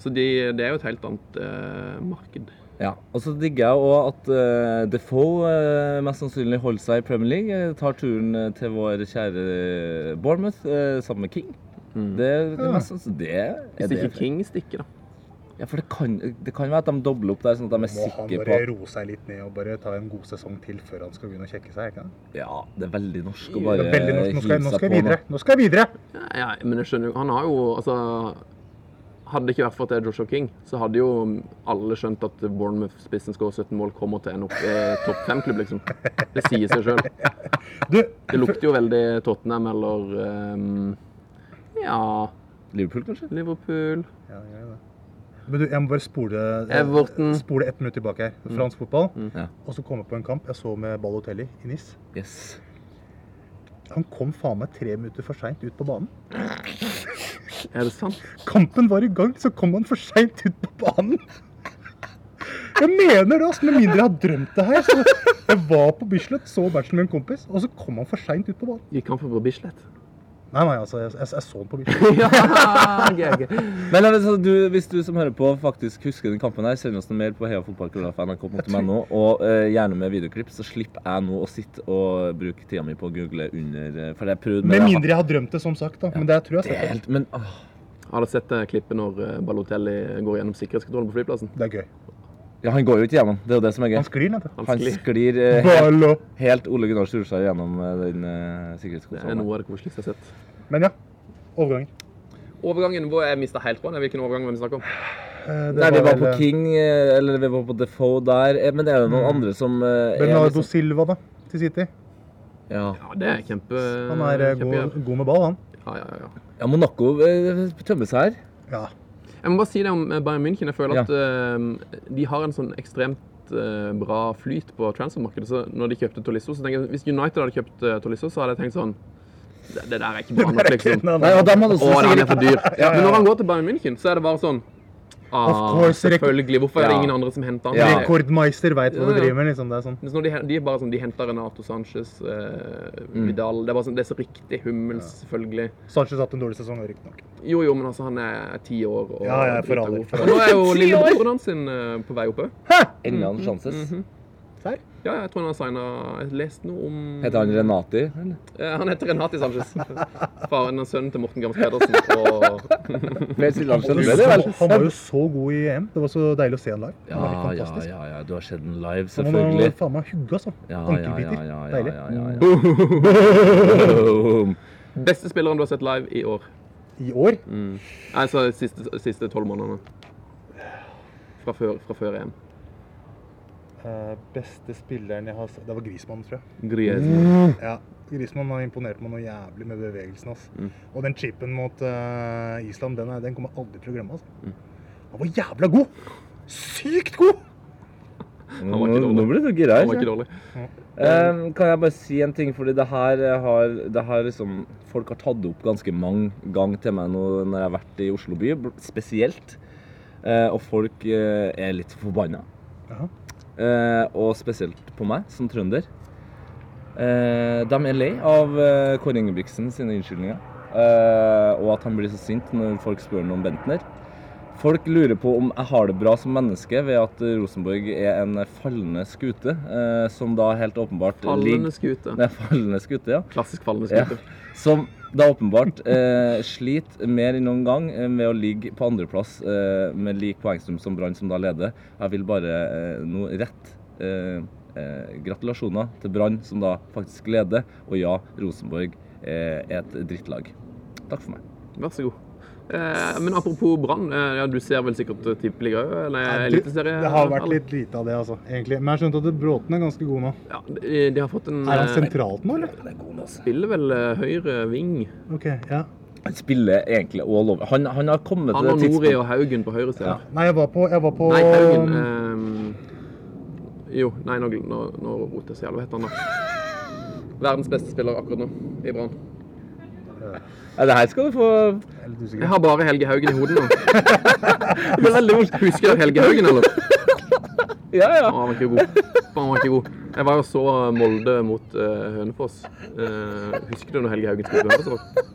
Så de, det er jo et helt annet eh, marked.
Ja, og så digger jeg òg at eh, Defoe eh, mest sannsynlig holder seg i Premier League. eh, tar turen eh, til vår kjære Bournemouth eh, sammen med King. Det, det er mest sannsynlig det, er
Hvis
det,
ikke King stikker, da.
ja, for det kan, det kan være at de dobler opp der, sånn at de er
Må han
sikre på
bare
at
roe seg litt ned og bare ta en god sesong til før han skal begynne å kjekke seg? ikke sant?
Ja, det er veldig norsk å
Det
bare
er veldig norsk. Nå skal, nå skal jeg videre! Nå skal jeg videre!
Ja, ja, men jeg skjønner jo Han har jo altså Hadde det ikke vært for at det er Joshua King, så hadde jo alle skjønt at Bournemouth-spissen skårer 17 mål, kommer til en opp, eh, topp fem-klubb, liksom. Det sier seg sjøl.
Du,
Det lukter jo veldig Tottenham eller ehm, Ja
Liverpool, kanskje?
Liverpool
Ja, det gjør det. Men du, jeg må bare spole, eh,
Everton.
spole ett minutt tilbake her.
Mm.
Fransk fotball.
Ja.
Og så komme på en kamp jeg så med Balotelli i NIS.
Yes.
Han kom faen meg tre minutter for seint ut på banen.
Er det sant?
Kampen var i gang, så kom han for seint ut på banen! Jeg mener det, altså, med mindre jeg har drømt det her. Så jeg var på Bislett, så matchen med en kompis, og så kom han for seint ut på banen.
Gikk han for på Bislett?
Nei, nei, altså, jeg, jeg, jeg så han på Bislett.
ja, okay, okay.
Men altså, du, hvis du som hører på faktisk husker den kampen her, send oss noe mer på heiafotballkrøllalfa.nrk.no, og eh, gjerne med videoklipp, så slipper jeg nå å sitte og bruke tida mi på å google under eh, For jeg prøvde
Med
det.
mindre jeg har drømt det, som sagt. da. Men det tror jeg
Det er
jeg
helt Men åh,
Har dere sett det klippet når eh, Balotelli går gjennom sikkerhetskontrollen på flyplassen?
Det er gøy.
ja, han går jo ikke gjennom. Det er jo det som er gøy.
Han sklir ned.
Han
Han
sklir.
sklir eh, helt,
Ballo.
helt Ole Gunnar Solskjær gjennom eh, den eh,
Det er
sikkerhetskontrollen.
noe av det koseligste jeg har sett.
Men ja. Overganger.
Overgangen hvor jeg mista helt på den. Hvilken overgang var det vi snakket om?
Eh, det
Nei, vi var
vel,
på
eh,
King, eh, eller vi var på Defoe der, eh, men det er jo noen andre som eh, er
Bernardo
liksom-
Silva, da. Til City.
Ja.
Ja, det er Mm, kjempe...
Han er eh, god,
kjempegjør.
god med ball, han.
Ja, ja, ja.
ja, Monaco eh, tømmer seg her.
Ja.
Jeg må bare si det om eh, Bayern München. Jeg føler at eh, de har en sånn ekstremt eh, bra flyt på transfermarkedet. Så når de kjøpte Tolisso, så tenker jeg hvis United hadde kjøpt eh, Tolisso, så hadde jeg tenkt sånn Det, det der er ikke bra nok, liksom.
Nei,
Nei,
nei,
og de
Å,
hadde også
han er
sikkert
for dyr. Men når han går til Bayern München, så er det bare sånn
Of
ah,
course, rek-
Selvfølgelig. Hvorfor er det
Ja.
ingen andre som henter
Ja.
han? Det-
Rekordmeister veit hva
Ja,
du
ja.
driver med. liksom, det er sånn.
Mens når de, hen- de er bare sånn, de henter Renato Sanchez, eh, Vidal Det er bare sånn, det er så riktig. Hummels, selvfølgelig.
Sanchez har hatt en dårlig sesong, riktignok.
Jo, jo, men altså, han er ti år og
Ja, ja, for all del, for
Og nå er jo lillebroren hans sin, eh, på vei oppe.
enda en sjanses.
Mm-hmm.
Ja, jeg tror han har signa Jeg har lest noe om
Heter han Renati?
Mm-hmm.
eller?
Eh, Han heter Renati Sanchez. Faren og sønnen til Morten Gams Pedersen. Og
Mer til han selv,
Han
det er det vel?
han var jo så god i EM. Det var så deilig å se han live.
Ja,
Han var helt
ja,
fantastisk.
ja, ja, øh, du har sett den live,
Han var
selvfølgelig.
faen meg hugga, altså.
Ja, ja, ja,
Ankelbiter.
ja, ja,
Deilig.
ja, ja, ja. Boom.
beste spilleren du har sett live i år?
Mm.
I år
Nei, så de siste, siste tolv månedene. Fra før, fra før EM.
eh, Beste spilleren jeg har sett Det var Grismann, tror jeg.
Griezmann.
Ja. Grismann har imponert meg noe jævlig med bevegelsen hans.
Mm.
Og den chipen mot eh, Island, den, er, den kommer jeg aldri til å glemme. Altså.
Mm.
Han var jævla god! Sykt god!
Nå,
var ikke dårlig.
nå ble du gira
Han var
her.
ikke dårlig.
Ehm, kan jeg bare si en ting, fordi det her eh, har, det har liksom, folk har tatt det opp ganske mange ganger til meg nå når jeg har vært i Oslo by, bl- spesielt. Eh, og folk eh, er litt forbanna.
Jaha.
Eh, og spesielt på meg, som trønder. Eh, de er lei av eh, Kåre Ingebrigtsen sine unnskyldninger. Eh, og at han blir så sint når folk spør ham om Bentner. Folk lurer på om jeg har det bra som menneske ved at eh, Rosenborg er en fallende skute, eh, som da helt åpenbart
Fallende
ligger-
skute.
Nei, fallende skute, ja.
Klassisk fallende
Ja.
skute.
Som da åpenbart eh, sliter mer enn noen gang eh, med å ligge på andreplass eh, med lik poengsum som Brann, som da leder. Jeg vil bare eh, nå rett eh, eh, gratulasjoner til Brann, som da faktisk leder. Og ja, Rosenborg eh, er et drittlag. Takk for meg.
Vær så god. Eh, men apropos Brann. Eh, ja, du ser vel sikkert Tippeliga òg? Eller
Du,
Eliteserie?
det har vært
eller?
litt lite av det, altså. egentlig. Men jeg har skjønt at Bråten er ganske god nå.
Ja, de, de har fått en
Er han
eh,
sentralt nå, eller?
Spiller vel eh, høyre ving.
Ok, ja.
Han spiller egentlig all over. Han, han har kommet
Han og
til det
Nori
tidspunktet
og Haugen på høyre side.
Nei, jeg var på, jeg var på um,
Nei, eh, Haugen ehm, Jo, nei, nå, gl- nå, nå roter jeg så jævlig. Hva heter han da? Verdens beste spiller akkurat nå i Brann.
Ja, det her skal du få
Jeg er litt usikker.
Jeg har bare Helge Haugen i hodet nå.
Det er veldig morsomt.
Husker du Helge Haugen, eller?
Ja, ja.
Å, han var ikke god. Han var ikke god. Jeg var jo så Molde mot eh, Hønefoss. Eh, husker du når Helge Haugen spilte på Hønefoss?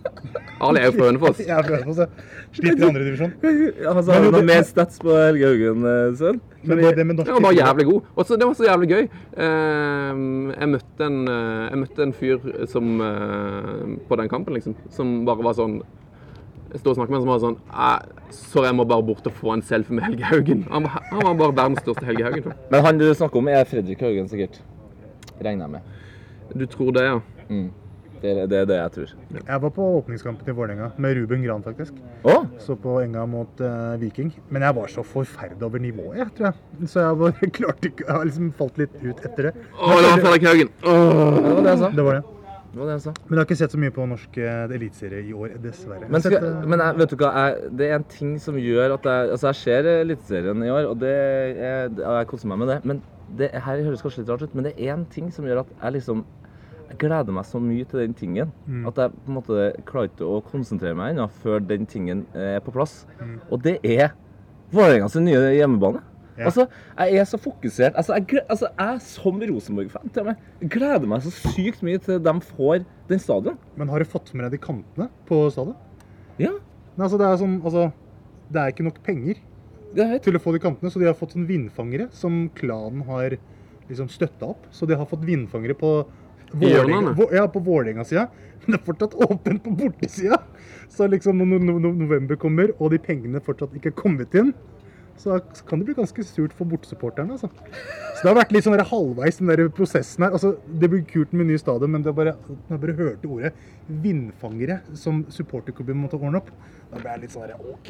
Ali er jo fra Hønefoss.
Jeg er fra Hønefoss, jeg. Sliter i andre divisjon.
Altså, har du noe mer stats på Helge Haugen, eh, Sven?
Men det, det med norsk
Den var bare jævlig god. Og så- det var så jævlig gøy. Eh, jeg, møtte en, eh, jeg møtte en fyr som eh, På den kampen, liksom. Som bare var sånn Jeg står og snakker med han som var sånn «Eh, Sorry, jeg må bare bort og få en selfie med Helge Haugen. Han, var- han var bare verdens største Helge Haugen. tror jeg.
Men han du snakker om, er Fredrik Haugen, sikkert. Regner jeg med.
Du tror det, ja?
Det er det, er det jeg tror.
Jeg var på åpningskampen til Vålerenga med Ruben Gran, faktisk.
Å!
Så på enga mot eh, Viking. Men jeg var så forferda over nivået, jeg, tror jeg. Så jeg bare klarte ikke Jeg har liksom falt litt ut etter det.
Å, det var Fredrik Haugen! Åh.
Det var det jeg sa.
Det var det.
Det var det jeg sa.
Men jeg har ikke sett så mye på norsk eh, eliteserie i år, dessverre. Jeg har
Men, skal,
sett, eh,
men jeg, vet du hva, jeg, det er en ting som gjør at jeg Altså, jeg ser Eliteserien i år, og det er, og jeg koser meg med det. Men det her høres kanskje litt rart ut, men det er en ting som gjør at jeg liksom jeg gleder meg så mye til den tingen
Mm.
at jeg på en måte klarer ikke å konsentrere meg ennå før den tingen eh, er på plass.
Mm.
Og det er Vålerenga sin nye hjemmebane.
Ja.
Altså, Jeg er så fokusert. Altså, jeg, gle- altså, jeg som Rosenborg-fan til og med gleder meg så sykt mye til de får den stadion.
men har du fått med deg de kantene på stadion?
Ja,
Nei, altså, det er sånn Altså, det er ikke nok penger
jeg vet.
til å få de kantene, så de har fått sånn vindfangere som klanen har liksom støtta opp. Så de har fått vindfangere på Vålerenga-
hjørnene?
Vå- ja, på Vålerenga-sida, men det er fortsatt åpent på bortesida. Så liksom når no no november kommer, og de pengene fortsatt ikke er kommet inn, så kan det bli ganske surt for bortesupporterne. altså. Så det har vært litt sånn der halvveis den der prosessen her. Altså, Det blir kult med ny stadion, men det er bare, når jeg bare hørte ordet vindfangere som supporterklubben måtte ordne opp, da ble jeg litt sånn der, OK.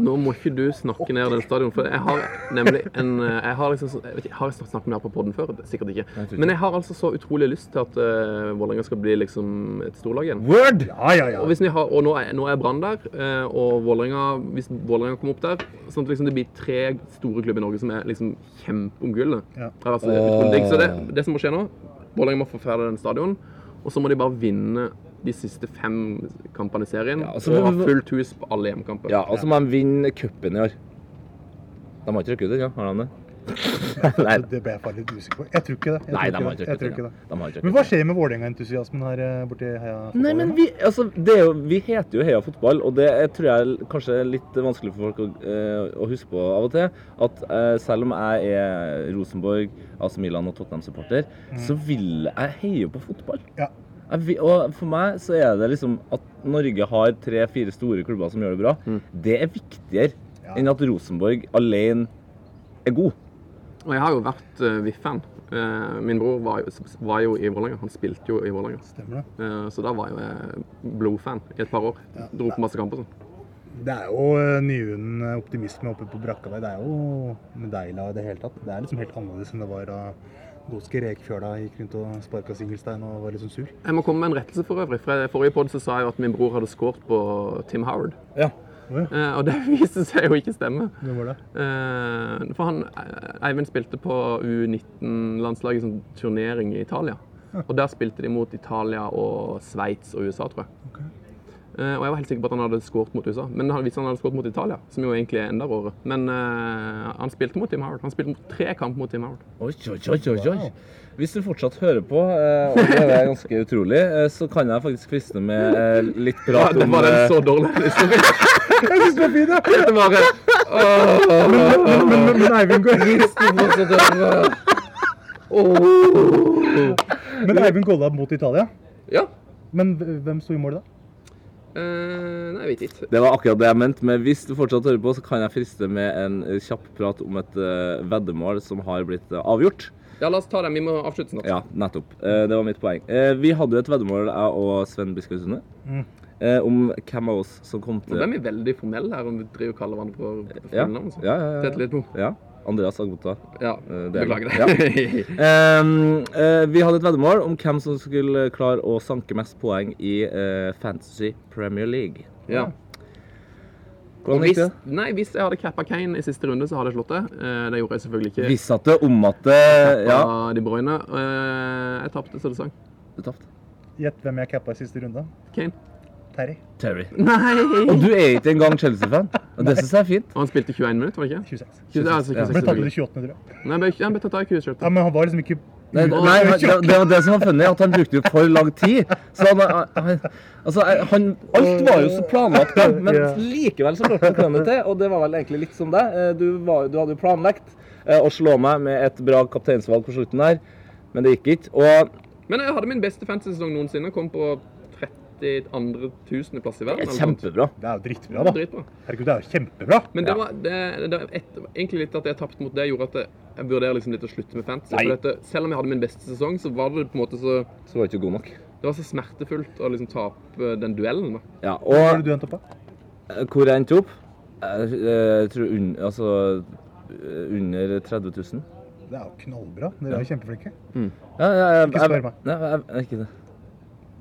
Nå må ikke du snakke ned den stadion, for jeg har nemlig en eh, Jeg har liksom så- jeg vet ikke, Har jeg snakket med deg på podden før? Sikkert ikke. Men jeg har altså så utrolig lyst til at uh, Vålerenga skal bli liksom et storlag igjen.
Word!
Ja, ja, ja.
Og, hvis vi har, og nå er, nå er Brann der, eh, og Vålerenga, hvis Vålerenga kommer opp der Sånn at liksom det blir tre store klubber i Norge som er liksom kjempe om gullet.
Ja.
Det har vært så utrolig digg. Så det, det som må skje nå Vålerenga må få ferdig den stadion, og så må de bare vinne de siste fem kampene i serien
Ja, altså,
og ha
men-
fullt hus på alle hjemmekamper.
Ja, og så må de vinne cupen i år. De har ikke rukket ut ennå, har de det? Nei,
Det ble jeg bare litt usikker på. Jeg tror ikke det. Jeg
nei, de
tror
har
ikke
ikke
det. Jeg tror
rukket ut
ikke
ennå.
det.
De har ikke
Men
rukket
hva
ut ennå.
skjer med Vålerenga-entusiasmen her eh, borti Heia fotball? liksom?
Nei, men vi, altså, det er jo, vi heter jo Heia fotball, og det er, tror jeg l- kanskje er litt vanskelig for folk å, eh, å huske på av og til. At eh, selv om jeg er Rosenborg, AC Milan og Tottenham-supporter, så vil jeg heie på fotball.
Mm. Ja.
Jeg vil, og for meg så er det liksom at Norge har tre-fire store klubber som gjør det bra. Det er viktigere
Ja.
enn at Rosenborg alene er god.
Og jeg har jo vært uh, VIF-fan. Eh, min bror var jo, var jo i Vålerenga. Han spilte jo i Vålerenga.
Stemmer det.
Eh, så da var jo jeg blodfan i et par år. Dro på masse kamper og sånn.
Det er jo eh, nyvunnen eh, optimisme oppe på brakka der. Det er jo Medeila i det hele tatt. Det er liksom helt annerledes enn det var da Godske Rekfjøla gikk rundt og sparka Singelstein og var liksom sur.
Jeg må komme med en rettelse for øvrig. For i forrige podd så sa jeg jo at min bror hadde skåret på Tim Howard.
Ja.
Eh, og det viste seg jo ikke stemme.
Det var det.
Eh, for han, eh, Eivind spilte på U19-landslaget som turnering i Italia. Og der spilte de mot Italia og Sveits og USA, tror jeg. Eh, og jeg var helt sikker på at han hadde skåret mot USA, men han visste han hadde skåret mot Italia, som jo egentlig er enda råere. Men eh, han spilte mot Tim Howard. Han spilte mot tre kamper mot Tim Howard.
Oi, oi, oi, oi, oi. Hvis du fortsatt hører på, eh, og det er ganske utrolig, eh, så kan jeg faktisk friste med eh, litt
Ja,
prat
det
om
var en
eh,
sånn,
så dårlig historie.
Jeg syns det var fint, ja!
Det var eh, en
Men, men, men, men Eivind går Men Eivind Golla mot Italia.
Ja.
Men hv- hvem sto i mål da?
Eh, nei, jeg vet ikke.
Det var akkurat det jeg mente, men hvis du fortsatt hører på, så kan jeg friste med en eh, kjapp prat om et eh, veddemål som har blitt eh, avgjort.
Ja, la oss ta den. Vi må avslutte snart.
Ja, nettopp. Eh, Det var mitt poeng. Eh, Vi hadde jo et veddemål, jeg og Sven Biskar Sunde,
Mm.
eh, om hvem av oss som kom
Nå
til
ble vi veldig formelle her, om vi driver og kaller hverandre for
ja,
fullnavn.
ja, ja,
Tete
ja.
litt på.
ja. Andreas Agota.
Ja,
Eh, det er-
beklager
Ja.
det.
Ehm, eh, vi hadde et veddemål om hvem som skulle klare å sanke mest poeng i eh, Fantasy Premier League.
Ja. Og
Hvordan gikk
hvis,
det?
nei, hvis jeg hadde cappa Kane i siste runde, så hadde jeg slått det. Eh, Det gjorde jeg selvfølgelig ikke.
Hvis at det om at det Ja,
Av De Bruyne. Eh, Jeg tapte, så det sang.
du tapte.
Gjett hvem jeg cappa i siste runde.
Kane.
Terry.
Terry.
Nei!
Og du er ikke engang Chelsea-fan. Og det syns jeg er fint.
Og han spilte 21 minutter, var det ikke?
26.
20, altså,
Ja.
Ble
26
tatt ut
selvfølgelig.
i 28., tror jeg.
Nei, han ble- han ble tatt av i 27.
Ja, men han var liksom ikke
Nei,
Nei,
nei, han- det, det var det som var funny, at han brukte jo for lang tid. Så han, han, altså, han Alt var jo så planlagt, da, men
Ja.
likevel så klarte han det til.
Og det var vel egentlig litt som deg. Eh, Du, var, du hadde jo planlagt eh, å slå meg med et bra kapteinsvalg på slutten her, men det gikk ikke. Og
Men jeg hadde min beste fantasy-sesong noensinne. Kom på 32. tusendeplass i verden.
det
eller
er
noe sånt.
kjempebra.
Det er jo
Det
dritbra,
var
da.
dritbra.
Herregud, det er jo kjempebra.
Men det
Ja.
var det, det, det, et, egentlig litt at jeg tapte mot det, gjorde at jeg, jeg vurderer liksom litt å slutte med fantasy.
Nei.
For dette, selv om jeg hadde min beste sesong, så var det på en måte så
Så var du ikke god nok.
Det var så smertefullt å liksom tape den duellen. da.
Ja,
Hva
og
er det du endte opp på?
eh,
Hvor jeg endte opp? Jeg, jeg tror un, altså,
eh,
under 30 000.
Det er jo knallbra. Dere er jo kjempeflinke.
Ja, ja, jeg,
Ikke spør meg.
Nei, jeg, jeg, ikke det.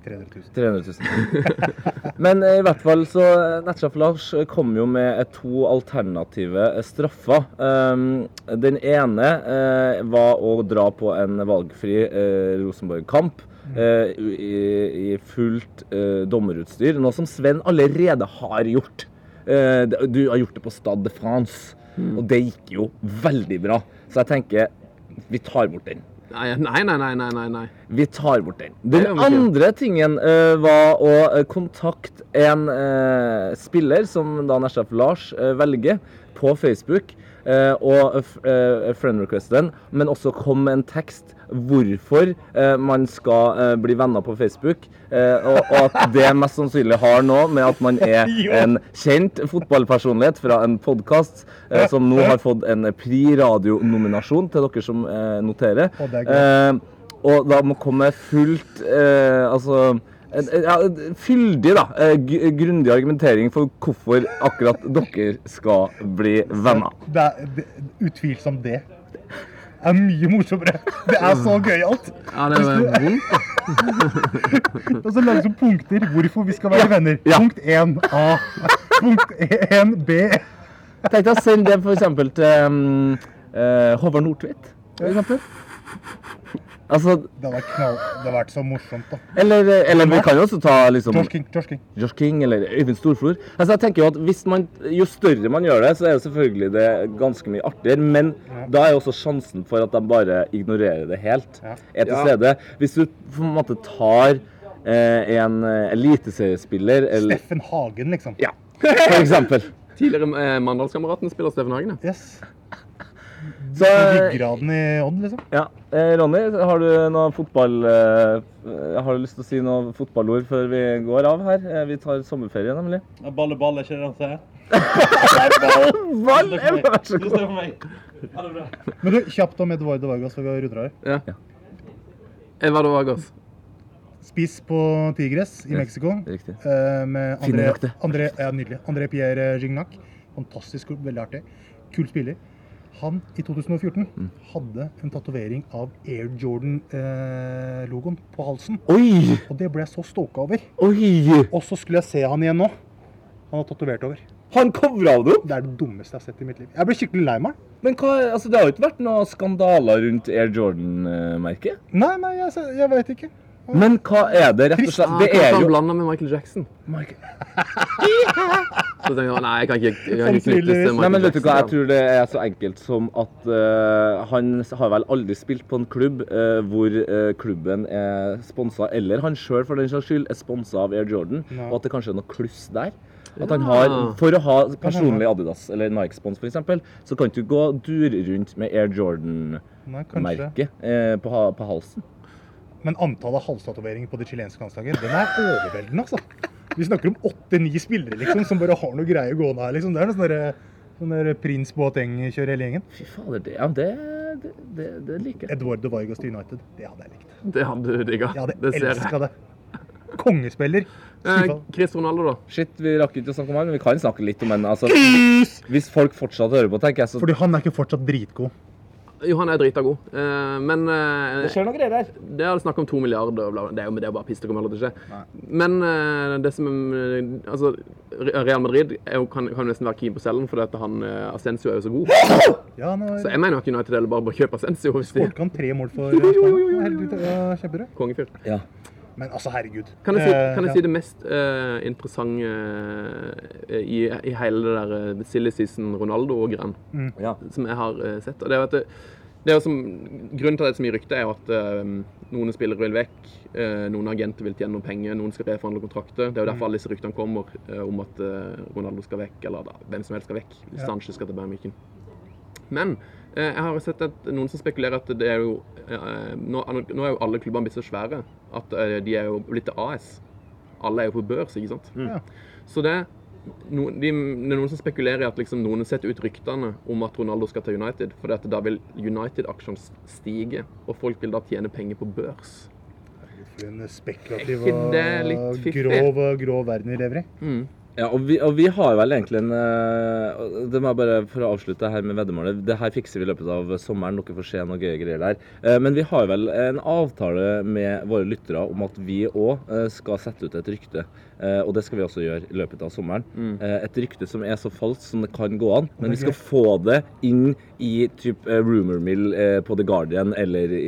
300 000.
300 000. Men eh, i hvert fall så eh, Nettsjef Lars eh, kom jo med eh, to alternative eh, straffer. Um, Den ene eh, var å dra på en valgfri eh, Rosenborg-kamp. eh, I, I fullt eh, dommerutstyr. Noe som Sven allerede har gjort. Eh, det- Du har gjort det på Stade de France, og det gikk jo veldig bra. Så jeg tenker vi tar bort den.
Nei, nei, nei, nei, nei, nei, nei.
Vi tar bort den.
Det
Den
gjør vi ikke.
andre tingen eh, var å eh, kontakte en eh, spiller, som da Nesjef Lars eh, velger, på Facebook. eh, og f- eh, friend requesten, men også kom med en tekst hvorfor eh, man skal eh, bli venner på Facebook. eh, og, og at det mest sannsynlig har noe med at man er en kjent fotballpersonlighet fra en podkast som nå har fått en Pri Radio-nominasjon til dere som eh, noterer.
Å, det er gøy.
Eh, Eh, og da må komme fullt eh, Altså en, en- ja, en fyldig, da. eh, gu- Grundig argumentering for hvorfor akkurat dere skal bli venner.
Det er det, utvilsomt det. Det er mye morsommere. Det er så gøyalt.
Ja, det var vondt. da.
Og så lages det punkter hvorfor vi skal være venner.
Ja.
Punkt 1 A. Punkt 1 B.
Tenk deg å sende det for eksempel til um, eh, Håvard Nordtvedt. For eksempel. Altså,
Det hadde vært knall... Det hadde vært så morsomt, da.
eller, eh, eller vi kan jo også ta liksom
Josh King, Josh King.
Josh King eller Øyvind Storflor. Altså jeg tenker Jo at hvis man, jo større man gjør det, så er det selvfølgelig det ganske mye artigere. Men da er jo også sjansen for at de bare ignorerer det helt,
Ja.
er til stede. Hvis du på en måte tar eh, en eh, eliteseriespiller eller
Steffen Hagen, liksom.
Ja, for eksempel.
Tidligere eh, Mandalskameratene spiller Steffen Hagen. ja.
Yes.
Så eh,
Ryggraden i Odd, liksom.
ja. Eh, Ronny, har du noe fotball... Eh, har du lyst til å si noe fotballord før vi går av her? Eh, vi tar sommerferie, nemlig.
Balle, balle, ikke det han sier?
Val,
for meg.
vær så
Det
god.
står for meg. Ha det bra.
Men du, kjapt om Eduardo Vargas før vi runder av. her.
Edvard Vargas.
Spiss på Tigres i Mexico.
Riktig.
eh, Med
Finner
André,
dere det?
André, ja, nydelig. André Pierre eh, Gignac. Fantastisk, veldig artig. Kul spiller. Han i 2014 hadde en tatovering av Air Jordan-logoen på halsen.
Oi!
Og det ble jeg så stoka over.
Oi!
Og så skulle jeg se han igjen nå. Han har tatovert over.
Han covra det opp!
Det er det dummeste jeg har sett i mitt liv. Jeg ble skikkelig lei meg.
Men hva, altså, det har jo ikke vært noen skandaler rundt Air Jordan-merket.
Nei, nei, jeg, se- jeg veit ikke.
Men hva er det, rett og slett? Det er
Ah, Han
jo
blanda med Michael Jackson. Så tenkte jeg, nei, jeg kan ikke, jeg kan ikke knyttes
Sannsynligvis.
til Michael
Nei, men vet du hva, jeg
Jackson.
tror det er så enkelt som at eh, han har vel aldri spilt på en klubb eh, hvor eh, klubben er sponsa, eller han sjøl for den saks skyld, er sponsa av Air Jordan,
Ja.
og at det kanskje er noe kluss der. At han har, For å ha personlig Adidas eller Nike-spons, f.eks., så kan du ikke gå dur rundt med Air Jordan-merket
Nei, kanskje.
eh, på, ha- på halsen.
Men antallet halstatoveringer på det chilenske landslaget, den er overveldende, altså. Vi snakker om åtte-ni spillere liksom, som bare har noe greie gående her. liksom. Det er noe sånn der- sånn der prins Boateng kjører hele gjengen.
Fy fader, det, ja, det, det, det, det liker jeg.
Eduardo Vargas til United, det hadde jeg likt.
Det hadde du digga.
Jeg hadde
Det ser jeg.
elska det. Kongespiller.
Eh,
Skuffa.
Chris Ronaldo, da.
Shit, vi rakk ikke å snakke om han, men vi kan snakke litt om han. Altså, hvis folk fortsatt hører på, tenker jeg, så
Fordi han er ikke fortsatt dritgod.
Jo, han er drita god. Eh, men eh,
Det skjer noen greier her.
Det er snakk om to milliarder. og bla, bla. Det er jo men det er jo bare piss. Det kommer aldri til å skje. Men eh, det som eh, Altså, Re- Real Madrid er jo, kan, kan jo nesten være keen på å selge den, fordi at han eh, Asensio er jo så god.
Ja, han
Så
har
jeg mener jo at United heller bare bør kjøpe Asensio hvis de
skåret han tre mål for eh, Spania. Det er helt ut- ja, Kjempebra.
kongefyr.
Ja.
Men altså, herregud.
Kan jeg si,
Eh,
kan jeg
ja.
si det mest eh, interessante eh, i, i hele det der eh, silly season Ronaldo-greiene
Mm.
Ja.
som jeg har eh, sett? Og det er jo at det, det er jo som, grunnen til at det er så mye rykte, er jo at eh, noen spillere vil vekk, eh, noen agenter vil tjene noen penger, noen skal reforhandle kontrakter.
Mm.
Det er jo derfor alle disse ryktene kommer eh, om at eh, Ronaldo skal vekk, eller da, hvem som helst skal vekk. Sanchez skal til Bayern München. Men eh, jeg har sett at noen som spekulerer at det er jo eh, nå, nå er jo alle klubbene blitt så svære at eh, de er jo blitt til AS. Alle er jo på børs, ikke sant?
Ja.
Så det no, de, det er noen som spekulerer i at liksom noen setter ut ryktene om at Ronaldo skal til United, for at da vil United-aksjene stige, og folk vil da tjene penger på børs.
For en
Er
spekulativ
ikke
og
det litt fiffig?
grov, grov verden vi lever i.
Ja, og vi, og vi har vel egentlig en eh, og Det må jeg bare For å avslutte det her med veddemålet. Det her fikser vi i løpet av sommeren. Dere får se noen gøye greier der. Eh, Men vi har vel en avtale med våre lyttere om at vi òg skal sette ut et rykte. Eh, Og det skal vi også gjøre i løpet av sommeren. Eh, Et rykte som er så falskt som det kan gå an. Men vi skal få det inn i typ eh, rumor mill eh, på The Guardian eller i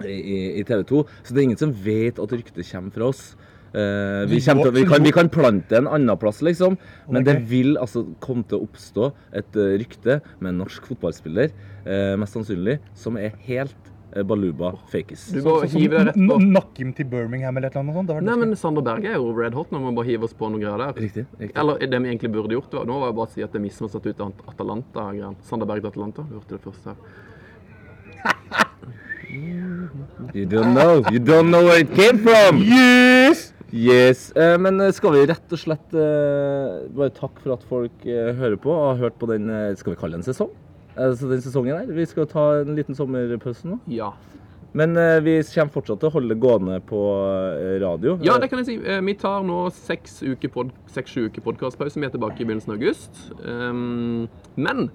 i, i TV 2. Så det er ingen som vet at ryktet kommer fra oss. Eh, vi, kommer til, vi, kan, vi kan plante en annen plass, liksom. Men det vil altså komme til å oppstå et eh, rykte med en norsk fotballspiller, eh, mest sannsynlig, som er helt eh, baluba fakis.
Du må hive deg rett på.
N- Nakkim til Birmingham eller et eller annet sånt. Det har vært
Nei, men Sander Berge er jo red hot når man bare hiver oss på noen greier der.
Riktig. riktig.
Eller det vi egentlig burde gjort, var- nå var det bare å si at det er misforstått ut av Atalanta-greiene. Sander Berge til Atalanta, du hørte det først her.
You don't know. You don't know where it came from!
Yes!
Yes, eh, men eh, skal vi rett og slett eh, bare takk for at folk eh, hører på og har hørt på den, eh, skal vi kalle det en sesong? Altså den sesongen her. Vi skal ta en liten sommerpause nå.
Ja.
Men eh, vi kommer fortsatt til å holde det gående på eh, radio.
Ja, det kan jeg si. Eh, Vi tar nå seks uker pod- seks-sju uker podkastpause. Vi er tilbake i begynnelsen av august. Ehm, men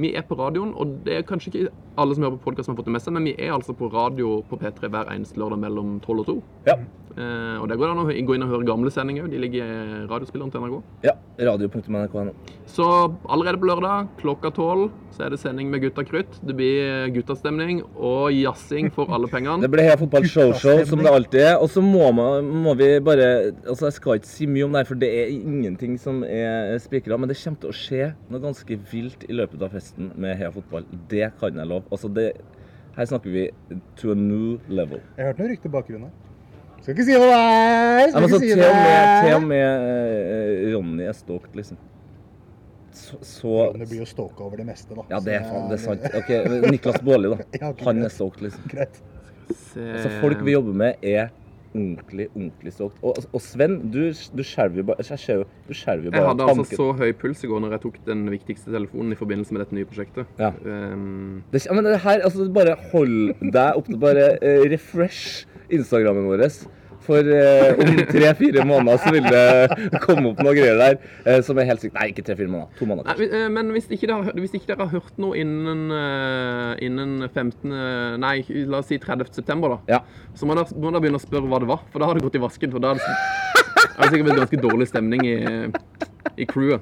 vi er på radioen, og det er kanskje ikke alle som hører på podkast som har fått det med seg, men vi er altså på radio på P3 hver eneste lørdag mellom 12 og 2.
Ja.
Eh, og der går det an å hø- gå inn og høre gamle sendinger. De ligger i radiospilleren til NRK.
Ja, radio.nrk.no.
Så allerede på lørdag klokka tolv så er det sending med Gutta Krutt. Det blir eh, guttastemning og jazzing for alle pengene.
Det ble Heia Fotball Show-show, som det alltid er. Og så må, man, må vi bare Altså, jeg skal ikke si mye om det her, for det er ingenting som er spikra, men det kommer til å skje noe ganske vilt i løpet av festen med Heia Fotball. Det kan jeg love. Altså, det Her snakker vi to a new level.
Jeg hørte noen rykter i bakgrunnen her. Skal ikke si hva det er!
Nei, men
Skal ikke
altså,
si
til og med, til og med eh, Ronny er stalked, liksom. Så, så
Men Det blir jo stalka over det meste, da.
Ja, det er,
Så
faen, det er sant. Ok, Niklas Baarli,
Ja,
da.
ok,
Han er
greit.
stalked, liksom.
Greit.
Se-
Altså, folk
Eh.
vi jobber med, er ordentlig, ordentlig stolt. Og, og Sven, du, du skjelver jo bare Jeg ser jo- Du skjelver jo
Jeg
bare av
hadde altså
tanken.
så høy puls i går når jeg tok den viktigste telefonen i forbindelse med dette nye prosjektet.
Ja.
Ehm,
det, ja, men det her, altså, bare hold deg opp til bare eh, refresh Instagrammen vår. For eh, om tre-fire måneder så vil det komme opp noe greier der eh, som er helt sykt. Nei, ikke tre-fire måneder. To måneder.
nei, vi- eh, men hvis ikke, dere, har- hvis ikke dere har hørt noe innen, eh, innen 15. Nei, la oss si 30. september, da.
Ja.
Så må dere, må dere begynne å spørre hva det var, for da har det gått i vasken. For da er det, s- er det sikkert blitt ganske dårlig stemning i, i crewet.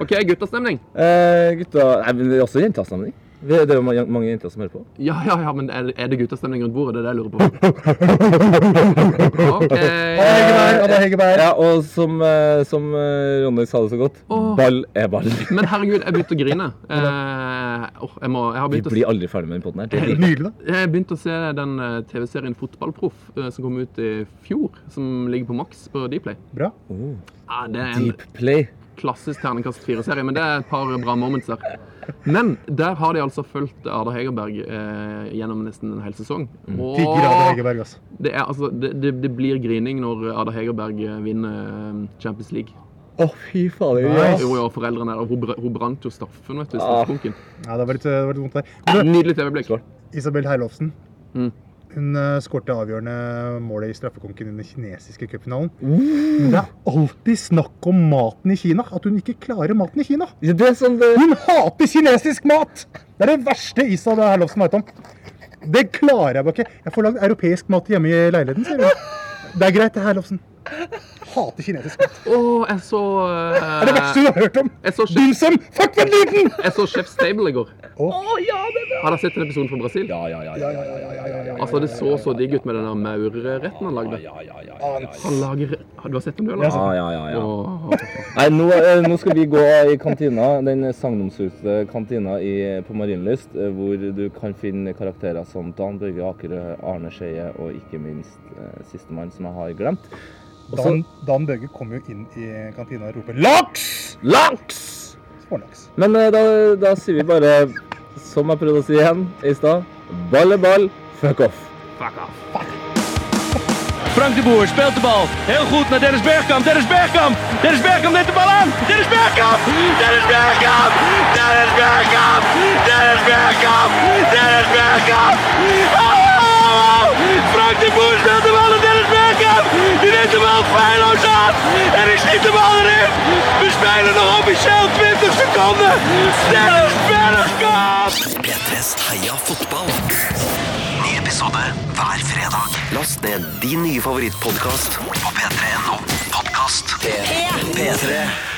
OK, guttastemning.
Eh, gutta Nei, men det er også jentastemning. Det det er jo ma- mange jenter som hører på.
Ja, ja, ja, men er det, er det guttastemning rundt bordet? Det er det jeg lurer på. OK.
Heggeberg, Anna Heggeberg.
Ja, og som, eh, som eh, Ronny sa det så godt,
Åh.
ball er ball.
Men herregud, jeg begynte å grine. Eh, åh, jeg, må, jeg har
Vi
begynt å
blir aldri ferdig med den potten her. Det er
Nydelig, da.
Jeg begynte å se den eh, TV-serien Fotballproff eh, som kom ut i fjor, som ligger på Max på Dplay.
Bra.
Ja, det er en
Deep play.
klassisk terningkast fire-serie, men det er et par bra moments der. Men der har de altså fulgt Arda Hegerberg eh, gjennom nesten en hel sesong.
Mm.
Og
Digger Anna Heggeberg, altså.
det, er, altså, det, det, det blir grining når Arda Hegerberg eh, vinner eh, Champions League.
Å, fy fader.
ja.
Jo, ja, foreldrene der. og Hun, br- hun brant jo straffen, vet du. i
Ah.
Straffebunken.
Ja, det var litt, det var litt vondt der. Men du,
Nydelig TV-blikk.
Isabel Herlofsen.
Mm.
Hun uh, skårte avgjørende målet i straffekonken i den kinesiske cupfinalen.
Uh.
Men Det er alltid snakk om maten i Kina. At hun ikke klarer maten i Kina.
Ja, det er sånn det
Hun hater kinesisk mat! Det er det verste Isabel Herlofsen veit om. Det klarer jeg bare ikke. Jeg får lagd europeisk mat hjemme i leiligheten, sier hun. Det er greit, det, Herlofsen. hater kinesisk mat.
Å, jeg så
Det er det verste
eh,
du har hørt om.
Jeg så,
Dim sum! Fuck, vent liten!
jeg så Chef Stable i går.
Å.
Har dere sett en episode fra Brasil?
Ja, ja, ja. ja, ja, ja, ja, ja, ja.
Altså, Det så så digg ut med den der maurretten han lagde.
Ja, ja, ja, ja.
Annet.
Han lager Har du sett den, du,
Ja,
eller?
så-
Ja, ja, ja, ja.
Åh.
Nei, nå, eh, nå skal vi gå i kantina, den sagnomsuste kantina i, på Marienlyst, eh, hvor du kan finne karakterer som Dan Børge Akerø, Arne Skeie og ikke minst eh, sistemann som jeg har glemt.
Dan, Dan Børge kom jo inn i kantina og roper 'laks'!
Laks!
Smålaks.
Men eh, da, da sier vi bare, som jeg prøvde å si igjen i stad, ball er ball, fuck off.
Frank de Boer speelt de bal. Heel goed naar Dennis Bergkamp. Dennis Bergkamp. Dennis Bergkamp neemt de bal aan. Dennis Bergkamp. Dennis Bergkamp. Dennis Bergkamp. Dennis Bergkamp. Dennis Bergkamp. Oh! Frank de Boer speelt de bal naar Dennis Bergkamp. Die neemt de bal feilloos aan. En ik schiet de bal erin. We spelen nog officieel 20 seconden. Dennis Bergkamp.
P3s Heia fotball. Ny episode hver fredag. Last ned din nye favorittpodkast på p3.no. Podkast P3.